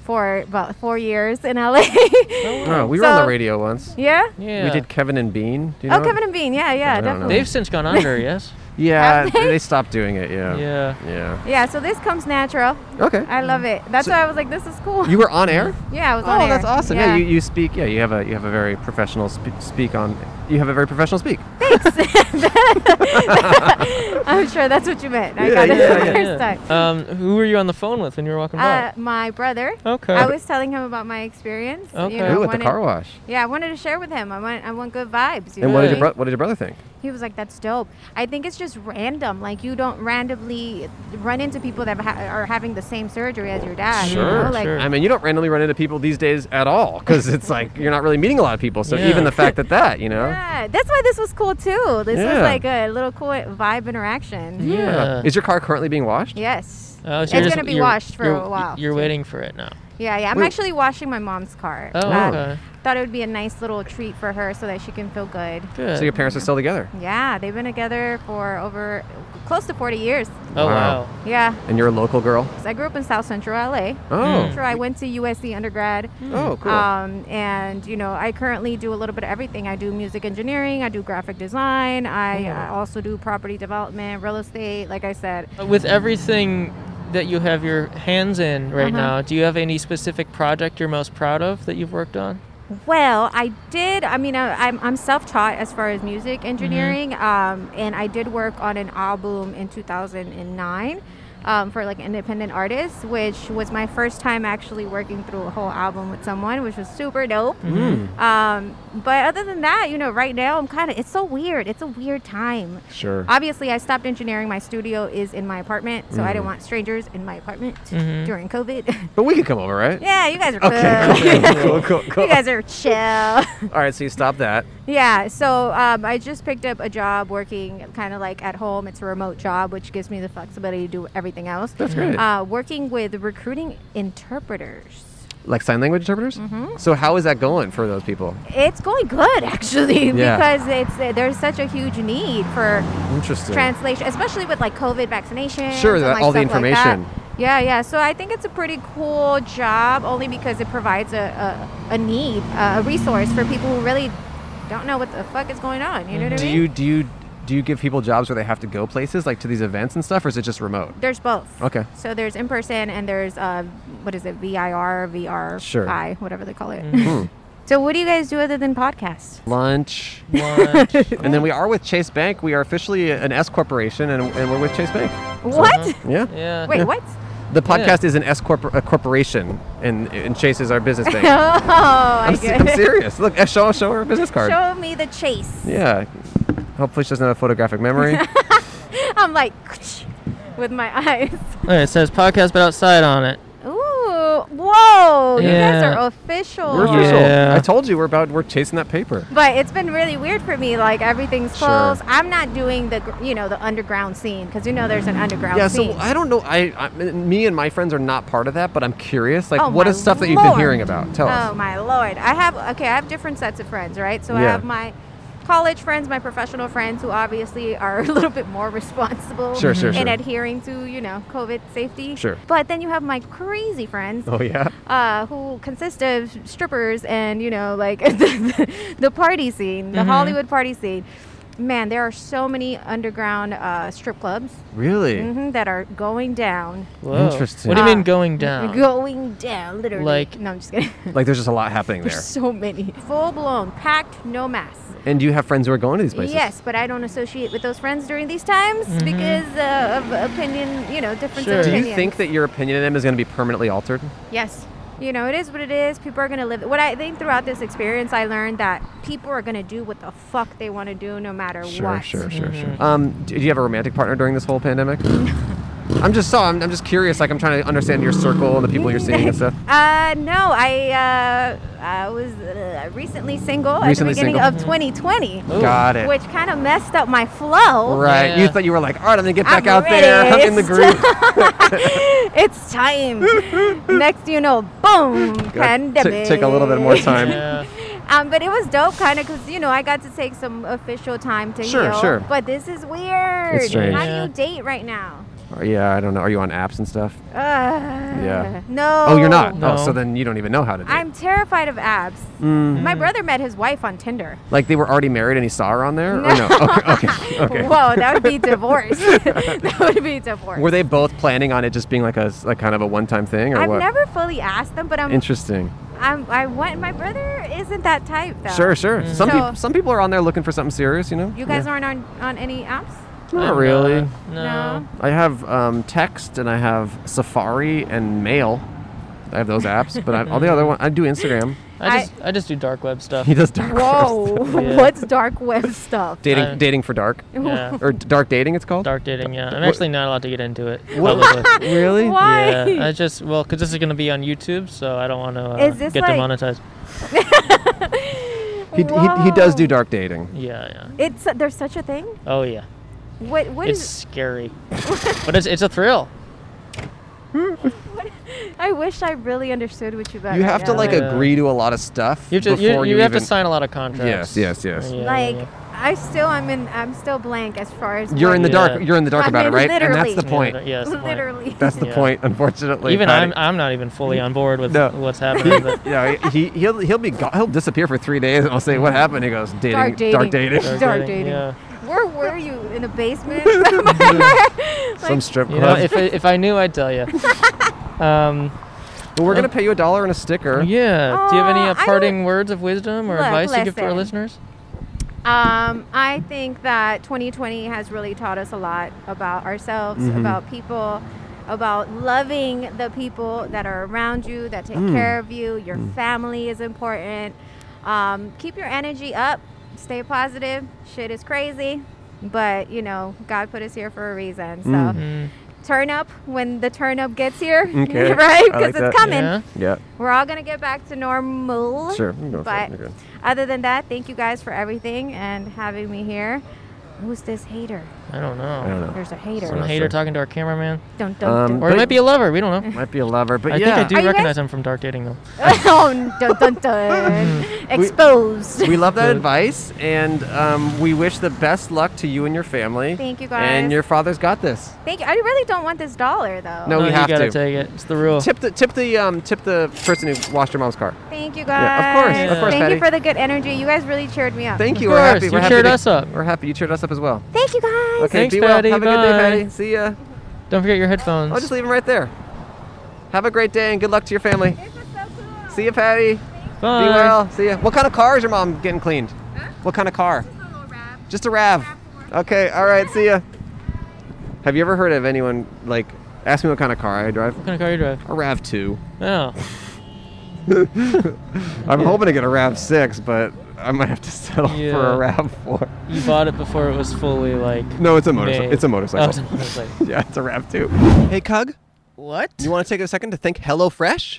for about four years in LA. Oh, we were on the So- radio once. yeah. Yeah. We did Kevin and Bean. Do you Oh, know it? Kevin and Bean. Yeah, yeah, don't know. definitely. They've since gone under. yes. Yeah, Have they? they stopped doing it. Yeah. Yeah. Yeah. Yeah. So this comes natural. Okay. I love it. That's So- why I was like, this is cool. You were on air. yeah, I was Oh, on air. that's awesome. Yeah. you, you speak. Yeah, you have a you have a very professional spe- speak on. You have a very professional speak. I'm sure that's what you meant. I Yeah, got it yeah, the yeah. first time. Um, who were you on the phone with when you were walking by? Uh, my brother. Okay. I was telling him about my experience. you Okay. know, I Ooh, at the wanted- car wash. Yeah, I wanted to share with him. I want I want good vibes. You And know what I did your mean? bro- what did your brother think? He was like, "That's dope." I think it's just random. Like you don't randomly run into people that ha- are having the same surgery as your dad. you know? Like, sure. I mean, you don't randomly run into people these days at all because it's like you're not really meeting a lot of people. So Yeah. even the fact that that, you know. Yeah, that's why this was cool too. This Yeah. was like a little cool vibe interaction. Yeah. Is your car currently being washed? Yes. Oh, so it's you're just- gonna be you're- washed for you're- a while. You're waiting for it now. Yeah, yeah. I'm Wait. actually washing my mom's car. Oh, Uh, okay. Thought it would be a nice little treat for her so that she can feel good. Good. So your parents are still together, Yeah, they've been together for over close to 40 years. oh Wow. wow. Yeah. and you're a local girl. So I grew up in South Central LA. Oh. Mm. Sure, I went to USC undergrad. Oh, cool. Um, and you know, I currently do a little bit of everything. I do music engineering, I do graphic design, I Oh. uh, also do property development, real estate. Like I said, Uh, With everything that you have your hands in right Uh-huh. now, do you have any specific project you're most proud of that you've worked on? well, I did. I mean, I, I'm, I'm self-taught as far as music engineering, um, and I did work on an album in 2009. Um, for like independent artists, which was my first time actually working through a whole album with someone, which was super dope. Mm. Um, but other than that, you know, right now I'm kind of, it's so weird. It's a weird time. Sure. Obviously, I stopped engineering. My studio is in my apartment, so Mm. I didn't want strangers in my apartment during COVID. But we could come over, right? yeah, you guys are Okay. cool. Cool. cool. Cool. you guys are chill. All right. So you stop that. yeah, so um, I just picked up a job working kind of like at home. It's a remote job, which gives me the flexibility to do everything else. That's great. Uh, working with recruiting interpreters. like sign language interpreters. So how is that going for those people? It's going good actually Yeah. because it's there's such a huge need for Interesting. translation, especially with like COVID vaccination. Sure, that- all the information. yeah, yeah. So I think it's a pretty cool job, only because it provides a, a, a need, uh, a resource for people who really don't know what the fuck is going on. You know what I do mean? you do you do you give people jobs where they have to go places like to these events and stuff, or is it just remote? there's both. Okay. So there's in person and there's uh, what is it, VIR, VR, Sure. I, whatever they call it. Mm-hmm. So what do you guys do other than podcasts? Lunch. Lunch. And then we are with Chase Bank. We are officially an S corporation, and, and we're with Chase Bank. What? Yeah. yeah. Wait, what? The podcast is an S corp- a corporation, and and Chase is our business bank. Oh, i I'm, get se- I'm it. serious. Look, uh, show show her a business card. Show me the chase. Yeah. Hopefully she doesn't have a photographic memory. I'm like with my eyes. All right, it says podcast, but outside on it. Ooh, whoa! You guys Yeah. are official. we're official. Yeah. I told you we're about we're chasing that paper. But it's been really weird for me. Like everything's Sure. closed. I'm not doing the gr- you know the underground scene because you know there's an underground Yeah, scene. so I don't know. I, I me and my friends are not part of that, but I'm curious. Like, Oh, what my is stuff that you've been lord. hearing about? Tell Oh us. my lord! I have okay. I have different sets of friends, right? So I Yeah. have my college friends, my professional friends, who obviously are a little bit more responsible Sure, sure, in sure. adhering to you know COVID safety. Sure. But then you have my crazy friends. Oh yeah. uh, who consist of Mm-hmm. strippers and you know like the, the party scene, the Hollywood party scene. man, there are so many underground uh, strip clubs Really? hmm that are going down. Whoa. Interesting. What do you mean Ah, going down? Going down, literally. Like- no, I'm just kidding. Like there's just a lot happening there. There's so many. Full blown, packed, no mask. And do you have friends who are going to these places? Yes, but I don't associate with those friends during these times because uh, of opinion, you know, difference Sure. of Do Do opinion. you think that your opinion of them is going to be permanently altered? Yes. You know, it is what it is. People are going to live. What I think throughout this experience, I learned that people are going to do what the fuck they want to do no matter what. Mm-hmm. sure, sure. Um, do do you have a romantic partner during this whole pandemic? I'm just so I'm, I'm just curious. Like I'm trying to understand your circle and the people you're seeing and stuff. Uh, no, I uh, I was uh, recently single Recently at the beginning single. of 2020, Ooh. Got it. which kind of messed up my flow. Right. You Yeah. thought you were like, all right, I'm gonna get I'm back out there. I'm ready. in the groove. It's time. Next, you know, boom, Gotta ta- pandemic. take a little bit more time. Yeah. Um, but it was dope, kind of, because you know I got to take some official time to Sure, heal. sure. But this is weird. It's strange. How Yeah. do you date right now? Or, yeah, I don't know. Are you on apps and stuff? Uh, yeah. No. Oh, you're not. No. Oh, so then you don't even know how to. Date. I'm terrified of abs. Mm. My brother met his wife on Tinder. Like they were already married and he saw her on there, or no? No. Okay, okay, okay. Whoa, that would be divorce. that would be divorce. Were they both planning on it just being like a s- like kind of a one-time thing, or I've what? never fully asked them, but I'm, Interesting. I'm I want my brother isn't that type though. Sure, sure. Mm. Some So- people some people are on there looking for something serious, you know. You guys Yeah. aren't on on any apps? Not I'm really. not. No. No. I have um, text and I have Safari and Mail. I have those apps, but I, all the other one I do Instagram. I just I just do dark web stuff. He does dark. web Whoa, stuff. Yeah. what's dark web stuff? Dating I- dating for dark Yeah. or d- dark dating it's called. Uh, Dark dating, yeah. I'm What- actually not allowed to get into it. What- publicly. really? Why? Yeah, I just well, 'cause this is gonna be on YouTube, so I don't want to uh, Is this get like- demonetized. He, he, he does do Whoa. dark dating. Yeah, yeah. It's there's such a thing. Oh yeah, What what it's is? scary, but it's it's a thrill. I wish I really understood what you guys. You have to yeah. like Yeah. agree to a lot of stuff You have to you, before you, have even, to sign a lot of contracts. Yes, yes, yes. Yeah, yeah, like yeah. I still I'm in I'm still blank as far as You're what- in the Yeah. dark. You're in the dark I about it, mean, right? And that's literally. the point. Yeah, that's the point. literally. That's the Yeah. point, unfortunately. Even I'm Patty. I'm not even fully on board with No. what's happening. but yeah, he he'll he'll be go- he'll disappear for three days, and I'll say, "What happened?" He goes, "Dating, Dark dating. dark, Dark dating. dating. Yeah. Where were you in a basement? Like, Some strip You know, club. if I, if I knew, I'd tell you. Um, but we're gonna pay you a dollar and a sticker. yeah. Do you have any uh, Aw, I don't- parting words of wisdom or Look, advice you give to our listen. listeners? Um, I think that 2020 has really taught us a lot about ourselves, Mm-hmm. about people, about loving the people that are around you, that Mm. take care of you. Your family is important. Um, keep your energy up. Stay positive. Shit is crazy. But, you know, God put us here for a reason. So Mm-hmm. Mm, turn up when the turn up gets here, Okay. right? I Because like it's that. coming. Hmm, yeah. Yeah, We're all going to get back to normal. sure. I'm going for But it. Okay. other than that, thank you guys for everything and having me here. Who's this hater? I don't I don't know. know. There's a hater. Sorry. Some not hater sure. talking to our cameraman, Don't Um, don't. or it But- might be a lover. We don't know. Might be a lover, but I yeah, think I Are do you guys- recognize him from dark dating though. oh, dun dun dun. Exposed. we love that Good. advice, and um, we wish the best luck to you and your family. Thank you And guys. your father's got this. Thank you. I really don't want this dollar though. No, Oh, we you have gotta to. take it. It's the rule. Tip the tip the um, tip the person who washed your mom's car. Thank you guys. Yeah, of course, of course, Thank you Patty. for the good energy. You guys really cheered me up. Thank you. Of We're happy. course, We're you happy cheered to- us up. We're happy. You cheered us up as well. Thank you guys. Okay, Thanks, be well. Patty. Have a good day, Bye. Patty. See ya. Don't forget your headphones. I'll just leave him right there. Have a great day and good luck to your family. This was so cool. See ya, Patty. Bye. Be well. See ya. What kind of car is your mom getting cleaned? What kind of car? This little rap. Just a Rav. Okay. All right. See ya. Have you ever heard of anyone like ask me what kind of car I drive? What kind of car you drive? A Rav two. Oh, I'm hoping to get a Rav six, but I might have to settle for Yeah. a Rav four. you bought it before it was fully like. No, it's a motorcycle. made. It's a motorcycle. Oh, it's a motorcycle. Yeah, it's a Rav two. Hey, Cug. what? You want to take a second to thank HelloFresh?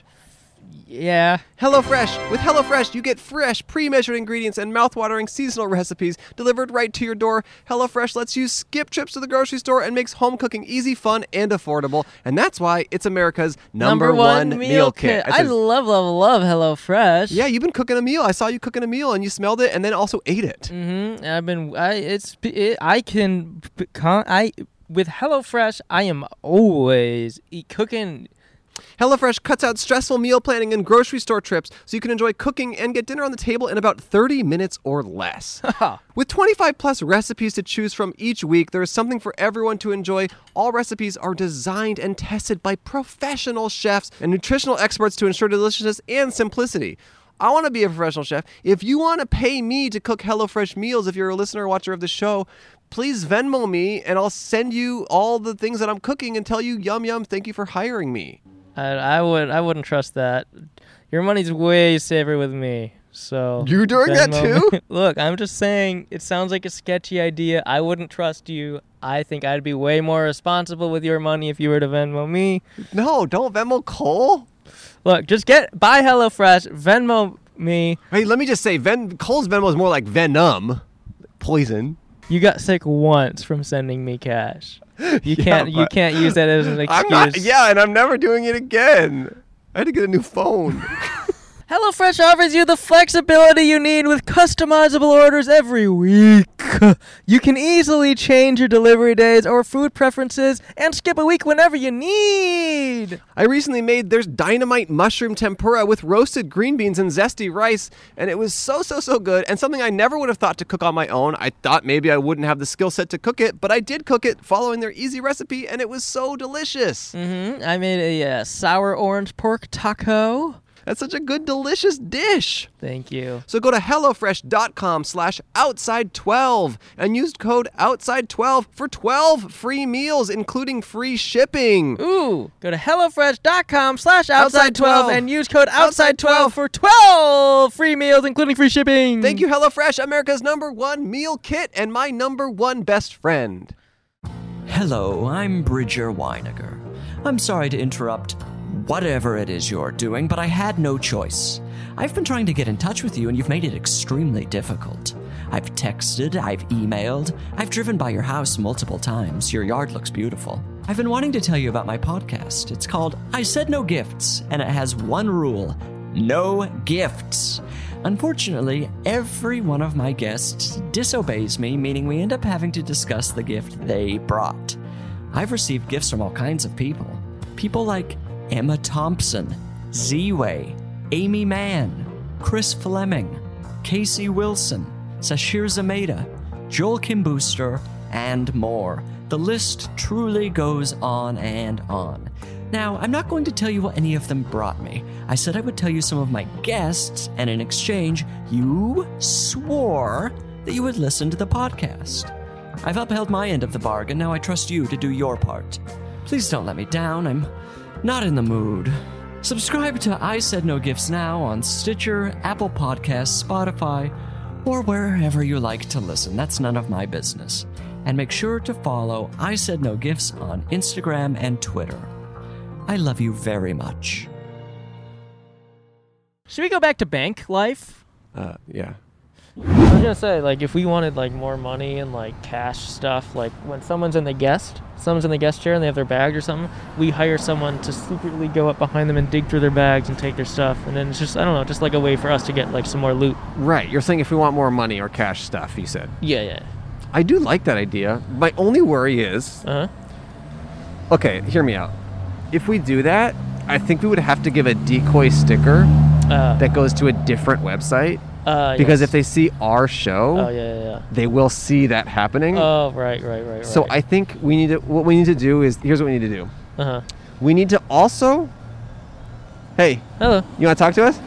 Yeah. HelloFresh. With HelloFresh, you get fresh, pre-measured ingredients and mouth-watering seasonal recipes delivered right to your door. HelloFresh lets you skip trips to the grocery store and makes home cooking easy, fun, and affordable. And that's why it's America's number, one, meal kit. It I says- love, love, love Hello Fresh. yeah, you've been cooking a meal. I saw you cooking a meal, and you smelled it, and then also ate it. Mm-hmm. I've been. I. It's. It, I can. p- Con, I. With Hello Fresh, I am always eat, e, cooking HelloFresh cuts out stressful meal planning and grocery store trips so you can enjoy cooking and get dinner on the table in about 30 minutes or less. With 25 plus recipes to choose from each week, there is something for everyone to enjoy. All recipes are designed and tested by professional chefs and nutritional experts to ensure deliciousness and simplicity. I want to be a professional chef. If you want to pay me to cook HelloFresh meals, if you're a listener or watcher of the show, please Venmo me and I'll send you all the things that I'm cooking and tell you, yum, yum, thank you for hiring me. I, I would I wouldn't trust that. Your money's way safer with me. So You're doing that Venmo- too? Look, I'm just saying it sounds like a sketchy idea. I wouldn't trust you. I think I'd be way more responsible with your money if you were to Venmo me. No, don't Venmo Cole. Look, just get buy HelloFresh, Venmo me. Hey, let me just say, Ven- Cole's Venmo is more like venom, poison. You got sick once from sending me cash. You can't you but- can't use that as an excuse. I'm not, yeah, and I'm never doing it again. I had to get a new phone. HelloFresh offers you the flexibility you need with customizable orders every week. You can easily change your delivery days or food preferences and skip a week whenever you need. I recently made there's dynamite mushroom tempura with roasted green beans and zesty rice, and it was so so so good and something I never would have thought to cook on my own. I thought maybe I wouldn't have the skill set to cook it, but I did cook it following their easy recipe, and it was so delicious. Mm, I made a uh, sour orange pork taco. That's such a good delicious dish. Thank you. So go to HelloFresh.com slash outside12 and use code outside12 for 12 free meals, including free shipping. Ooh, go to HelloFresh.com slash outside12 Outside12. and use code outside12 Outside12. for 12 free meals, including free shipping. Thank you, HelloFresh, America's number one meal kit and my number one best friend. Hello, I'm Bridger Weiniger. I'm sorry to interrupt whatever it is you're doing, but I had no choice. I've been trying to get in touch with you, and you've made it extremely difficult. I've texted, I've emailed, I've driven by your house multiple times. Your yard looks beautiful. I've been wanting to tell you about my podcast. It's called I Said No Gifts, and it has one rule no gifts. Unfortunately, every one of my guests disobeys me, meaning we end up having to discuss the gift they brought. I've received gifts from all kinds of people. People like Emma Thompson, Z Way, Amy Mann, Chris Fleming, Casey Wilson, Sashir Zameda, Joel Kim Booster, and more. The list truly goes on and on. Now, I'm not going to tell you what any of them brought me. I said I would tell you some of my guests, and in exchange, you swore that you would listen to the podcast. I've upheld my end of the bargain, now I trust you to do your part. Please don't let me down, I'm not in the mood. Subscribe to I Said No Gifts Now on Stitcher, Apple Podcasts, Spotify, or wherever you like to listen. That's none of my business. And make sure to follow I Said No Gifts on Instagram and Twitter. I love you very much. Should we go back to bank life? Uh, yeah. I was gonna say, like, if we wanted like more money and like cash stuff, like when someone's in the guest, someone's in the guest chair and they have their bags or something, we hire someone to secretly go up behind them and dig through their bags and take their stuff, and then it's just I don't know, just like a way for us to get like some more loot. Right. You're saying if we want more money or cash stuff, he said. Yeah, yeah. I do like that idea. My only worry is Uh-huh. Uh huh. okay, hear me out. If we do that, I think we would have to give a decoy sticker Uh, that goes to a different website uh, because yes. if they see our show, Oh yeah, yeah. they will see that happening. yeah. Oh right, right, right, right. Hmm. so I think we need to what we need to do is here's what we need to do. Uh huh. We need to also Hey, Hello. You want to talk to us?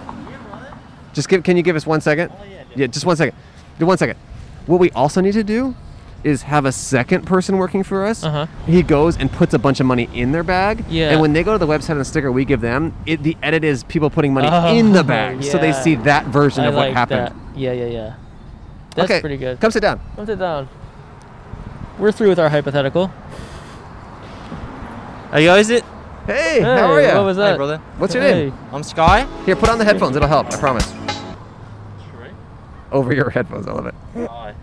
Just give. Can you give us one second? Oh, yeah, just one second. Do one second. What we also need to do is have a second person working for us. Uh-huh. He goes and puts a bunch of money in their bag. Yeah. And when they go to the website and the sticker we give them, it, the edit is people putting money Oh, in the bag, so they yeah. see that version I of what like happened. that. Yeah, yeah, yeah. That's okay, pretty good. Come sit down. Come sit down. We're through with our hypothetical. Hey guys, it. Hey, how are Hey, you? What was that? Hey brother, What's your Hey. name? I'm Sky. Here, put on the headphones. It'll help. I promise. Over your headphones. I love it.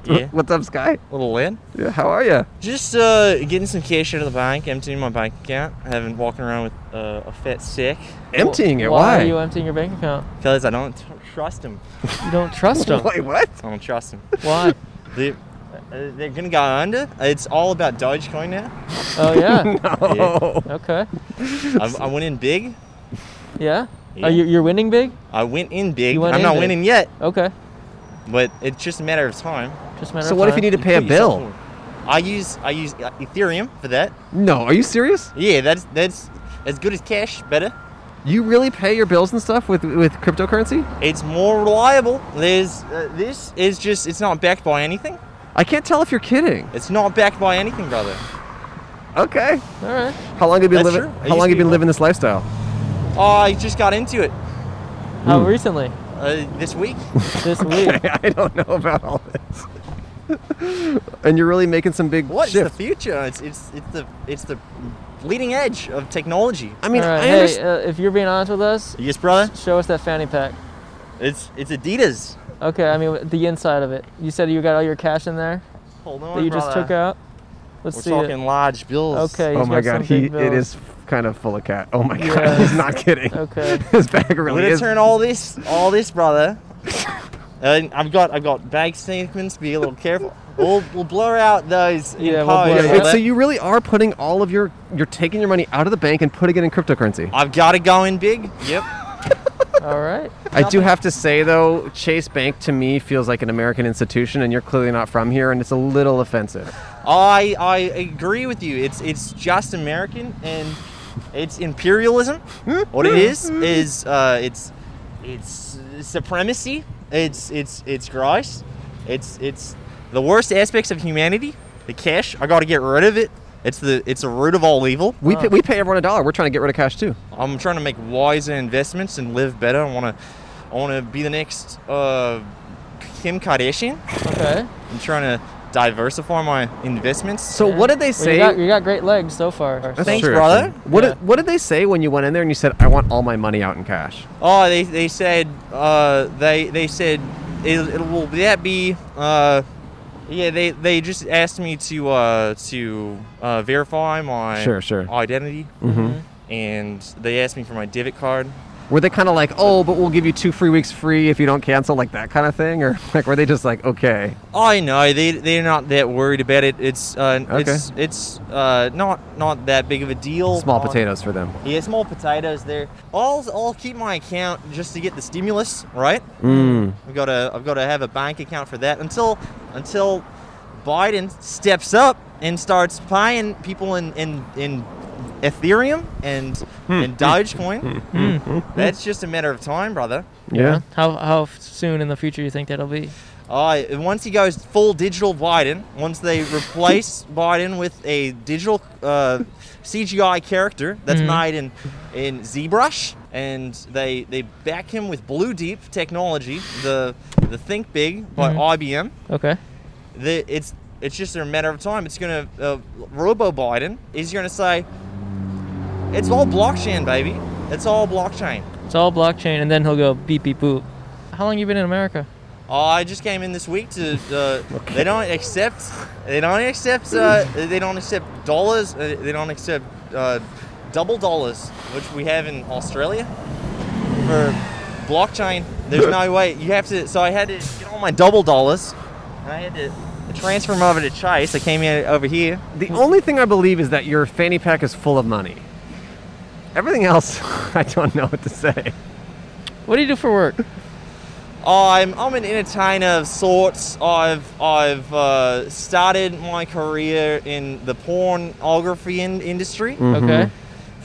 yeah, What's up, Sky? little Lynn. Yeah, how are you? Just uh, getting some cash out of the bank, emptying my bank account. I haven't walking around with uh, a fat sack. Emptying it. Why Why? are you emptying your bank account? Fellas, I don't tr- trust him. You don't trust them. Wait, what? I don't trust him. Why? They, Uh, they're gonna go under. It's all about Dogecoin now. Oh yeah. Yeah. Oh. Okay. I, I went in big. Yeah. Yeah. Are you you're winning big? I went in big. You went I'm in not big. winning yet, Okay. but it's just a matter of time. Just a matter So of what if you time. need to You pay a put yourself bill? forward. I use I use uh, Ethereum for that. No, are you serious? Yeah, that's that's as good as cash. Better. You really pay your bills and stuff with with cryptocurrency? It's more reliable. There's uh, this is just it's not backed by anything. I can't tell if you're kidding. It's not backed by anything, brother. Okay. All right. How long have you been That's living? true. How I used long have to you be been one. living this lifestyle? Oh, I just got into it How recently? uh, this week. This week. I don't know about all this. and you're really making some big What is shift. the future? It's it's it's the it's the leading edge of technology. I mean, All right. I hey, understand. uh, if you're being honest with us, Yes, brother. show us that fanny pack. It's it's Adidas. Okay, I mean the inside of it. You said you got all your cash in there Hold that you just took out. Let's We're see. talking it. large bills. Okay. oh he's my got god, some he big it bills. is kind of full of cat. Oh my Yeah. god, he's not kidding. Okay. His bag We're really gonna is. turn all this, all this, brother. and I've got I've got bank statements. Be a little careful. We'll we'll blur out those. in Yeah, we'll post. blur yeah, it I'll out. wait, let- so you really are putting all of your you're taking your money out of the bank and putting it in cryptocurrency. I've got it going big. Yep. all right. I do have to say though, Chase Bank to me feels like an American institution, and you're clearly not from here, and it's a little offensive. I I agree with you. It's it's just American and it's imperialism. What it is is uh, it's it's supremacy. It's it's it's gross. It's it's the worst aspects of humanity. The cash. I got to get rid of it. It's the it's the root of all evil. We Huh. pay, we pay everyone a dollar. We're trying to get rid of cash too. I'm trying to make wiser investments and live better. I want to I want to be the next uh, Kim Kardashian. Okay. I'm trying to diversify my investments. So Yeah. what did they Well, say? you, got, you got great legs so far. That's Thanks, true, brother. actually. What, Yeah. did, what did they say when you went in there and you said, "I want all my money out in cash"? Oh, they, they said uh, they they said it, it will that be uh, yeah they, they just asked me to uh, to uh, verify my Sure, sure. Mm-hmm. identity and they asked me for my debit card. Were they kind of like, "Oh, but we'll give you two free weeks free if you don't cancel," like that kind of thing, or like were they just like, "Okay"? Oh, I know they they're not that worried about it. It's uh, Okay. it's it's uh, not not that big of a deal. Small Uh, potatoes for them. Yeah, small potatoes there. I'll I'll keep my account just to get the stimulus, right? Mm. I've got to I've got to have a bank account for that until until Biden steps up and starts paying people in in, in Ethereum and and Dogecoin. That's just a matter of time, brother. Mm, Yeah. mm, How how soon in the future you think that'll be? Uh, once he goes full digital Biden, once they replace Biden with a digital uh, CGI character that's Mhm. made in in ZBrush, and they they back him with Blue Deep technology, the the Think Big by Mhm. IBM. Okay. the, it's it's just a matter of time. It's gonna uh, Robo Biden is gonna say, it's all blockchain, baby. It's all blockchain. It's all blockchain, and then he'll go beep beep boop. How long you been in America? Oh, I just came in this week to. Uh, They don't accept. They don't accept. Uh, they don't accept dollars. Uh, they don't accept uh, double dollars, which we have in Australia for blockchain. There's no way you have to. So I had to get all my double dollars, and I had to transfer them over to Chase. I came in over here. The only thing I believe is that your fanny pack is full of money. Everything else, I don't know what to say. What do you do for work? I'm I'm an entertainer of sorts. I've I've uh, started my career in the pornography in- industry, Mm-hmm. Okay.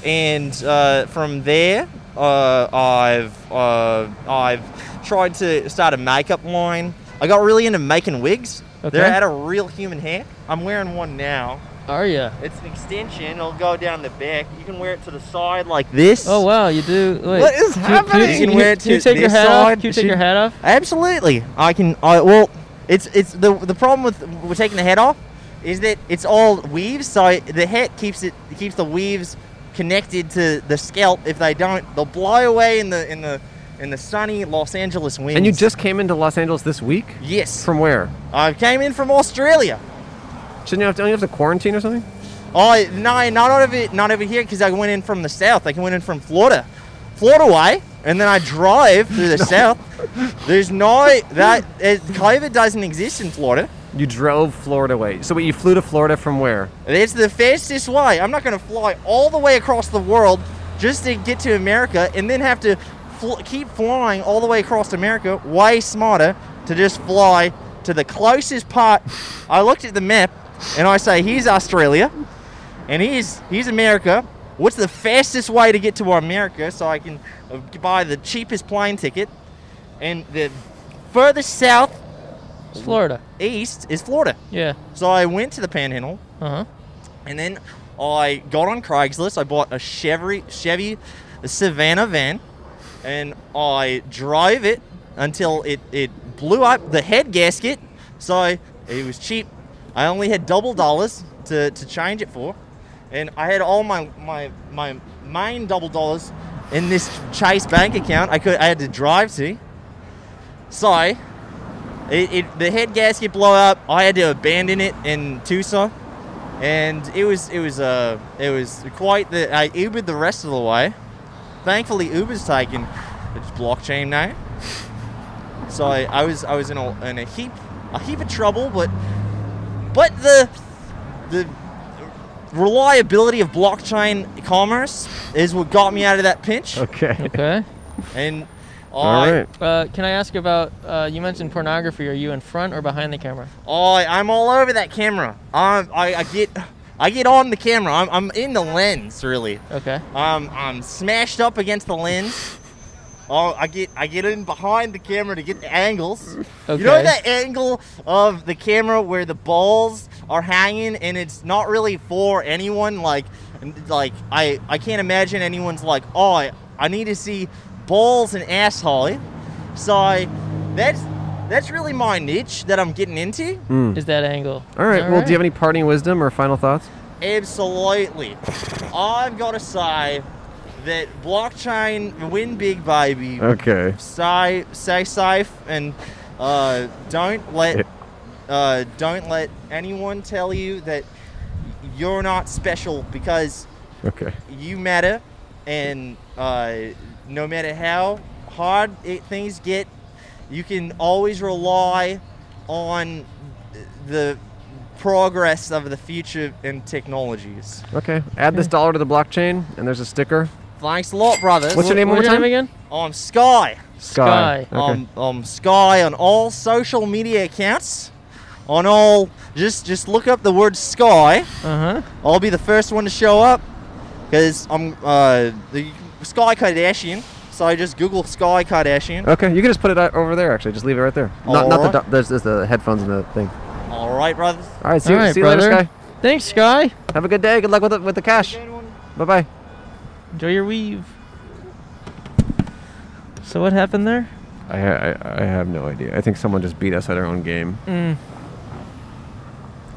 and uh, from there, uh, I've uh, I've tried to start a makeup line. I got really into making wigs. They're Okay. out of real human hair. I'm wearing one now. Are ya? It's an extension. It'll go down the back. You can wear it to the side like this. Oh wow, you do. Wait, What is Can you- happening? Can you, can you, can you take your This hat off? side, Can you take she- your hat off? Absolutely, I can. I well, it's it's the the problem with we're taking the head off is that it's all weaves, so the hat keeps it keeps the weaves connected to the scalp. If they don't, they'll blow away in the in the in the sunny Los Angeles winds. And you just came into Los Angeles this week? yes, From where? I came in from Australia. Shouldn't you have to, don't you have to quarantine or something? Oh no, not over it, not over here because I went in from the south. I went in from Florida, Florida way, and then I drive through the south. There's no that it, COVID doesn't exist in Florida. You drove Florida way. So wait, you flew to Florida from where? It's the fastest way. I'm not going to fly all the way across the world just to get to America and then have to fl- keep flying all the way across America. Way smarter to just fly to the closest part. I looked at the map and I say, here's Australia and here's, here's America. What's the fastest way to get to America so I can uh, buy the cheapest plane ticket? And the furthest south It's Florida. east is Florida. Yeah. So I went to the Panhandle Uh huh. and then I got on Craigslist. I bought a Chevy Chevy Savannah van, and I drove it until it it blew up the head gasket. So it was cheap. I only had double dollars to, to change it for, and I had all my my my main double dollars in this Chase bank account. I could I had to drive to. So it, it the head gasket blow up. I had to abandon it in Tucson and it was it was uh it was quite the I Ubered the rest of the way. Thankfully, Uber's taken its blockchain now, so I, I was I was in a in a heap a heap of trouble, but but the the reliability of blockchain commerce is what got me out of that pinch, Okay. Okay. and All I right. Uh, can I ask about? Uh, you mentioned pornography. Are you in front or behind the camera? I I'm all over that camera. I'm, I I get I get on the camera. I'm I'm in the lens really. Okay. Um, I'm smashed up against the lens. Oh, I get I get in behind the camera to get the angles. Okay. You know that angle of the camera where the balls are hanging and it's not really for anyone. Like, like I I can't imagine anyone's like, oh, I, I need to see balls and asshole. So I, that's that's really my niche that I'm getting into. Is that angle? All right. Well, do you have any parting wisdom or final thoughts? Absolutely. I've got to say that blockchain win big baby. Okay. stay stay safe and uh, don't Yeah. let uh, don't let anyone tell you that you're not special because Okay. you matter and uh, no matter how hard it, things get you can always rely on the progress of the future in technologies Okay. Add this dollar to the blockchain, and there's a sticker. thanks a lot brothers What's your name What one was your more time name again? i'm sky Sky. Sky. Okay. um, um, Sky on all social media accounts. On all, just just look up the word Sky. Uh huh. I'll be the first one to show up because I'm uh, the Sky Kardashian. So I just Google Sky Kardashian. Okay, you can just put it out over there. Actually, just leave it right there. Not, not the Alright. do- there's, there's the headphones and the thing. All right, brothers. All right, see, All you- right, see you brother. later, Sky. Thanks, Sky. Have a good day. Good luck with the, with the cash. Bye bye. Enjoy your weave. So what happened there? I, I I have no idea. I think someone just beat us at our own game. Mm.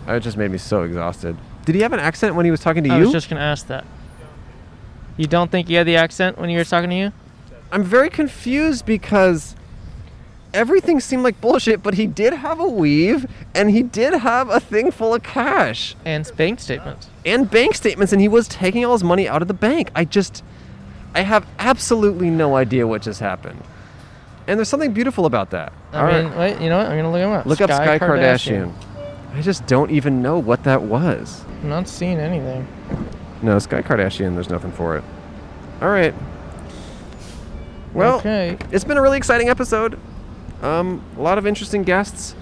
It just made me so exhausted. Did he have an accent when he was talking to I you? was just gonna ask that. You don't think you had the accent when you were talking to you? I'm very confused because everything seemed like bullshit, but he did have a weave and he did have a thing full of cash And bank statements. and bank statements, and he was taking all his money out of the bank. I just, I have absolutely no idea what just happened. And there's something beautiful about that. I All right, mean, wait. You know what? I'm gonna look him up. look up Sky Kardashian. I just don't even know what that was. I'm not seeing anything. No, Sky Kardashian, there's nothing for it. All right. Well, okay. it's been a really exciting episode. Um, a lot of interesting guests.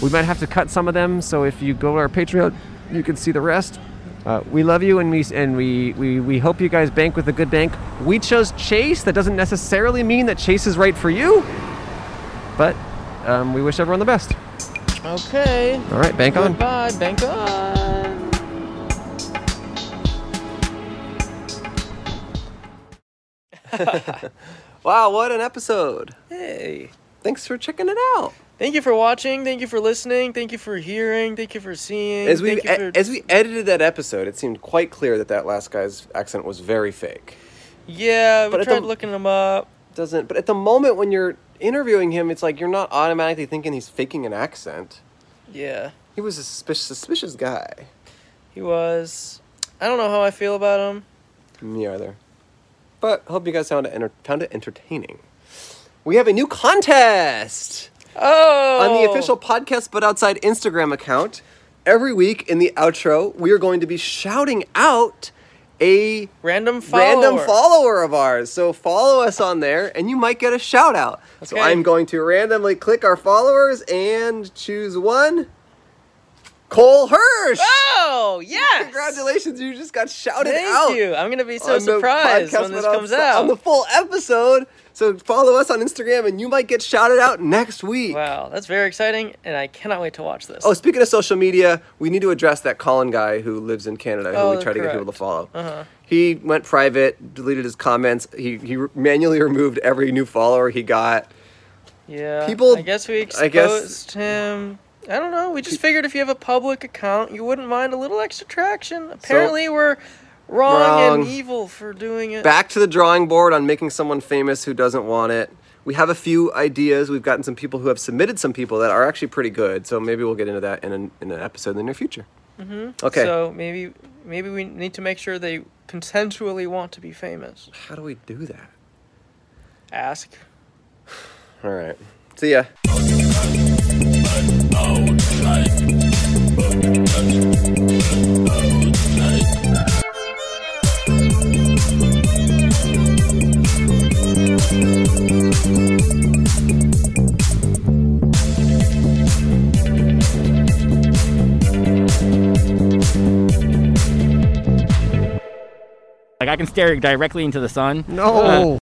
We might have to cut some of them, so if you go to our Patreon, you can see the rest. Uh, we love you, and we and we, we we hope you guys bank with a good bank. We chose Chase. That doesn't necessarily mean that Chase is right for you, but um, we wish everyone the best. Okay. All right, bank on. Goodbye. Bank on. Wow, what an episode! Hey, thanks for checking it out. Thank you for watching. Thank you for listening. Thank you for hearing. Thank you for seeing. As we thank you e- for- as we edited that episode, it seemed quite clear that that last guy's accent was very fake. yeah, But we at tried the- looking them up. Doesn't, but at the moment when you're interviewing him, it's like you're not automatically thinking he's faking an accent. Yeah, He was a suspicious, suspicious guy. he was. I don't know how I feel about him. Me either. But hope you guys found it enter- found it entertaining. We have a new contest. Oh. on the official podcast but outside Instagram account. Every week in the outro, we are going to be shouting out a random follower. random follower of ours. So follow us on there and you might get a shout out. So Okay. I'm going to randomly click our followers and choose one. Cole Hirsch! Oh yes. Congratulations, you just got shouted Thank out. you. I'm gonna be so on the surprised podcast when this on- comes out. On the full episode. So follow us on Instagram and you might get shouted out next week. Wow, that's very exciting, and I cannot wait to watch this. Oh, speaking of social media, we need to address that Colin guy who lives in Canada who Oh, we try to get people to correct. Uh-huh. follow. He went private, deleted his comments. He he re- manually removed every new follower he got. yeah. people- I guess we exposed I guess- him. I don't know. We just figured if you have a public account, you wouldn't mind a little extra traction. Apparently, we're wrong, Wrong. and evil for doing it. Back to the drawing board on making someone famous who doesn't want it. We have a few ideas. We've gotten some people who have submitted some people that are actually pretty good. So maybe we'll get into that in an, in an episode in the near future. Mm-hmm. Okay. So maybe maybe we need to make sure they consensually want to be famous. How do we do that? Ask. All right. See ya. Like I can stare directly into the sun. No.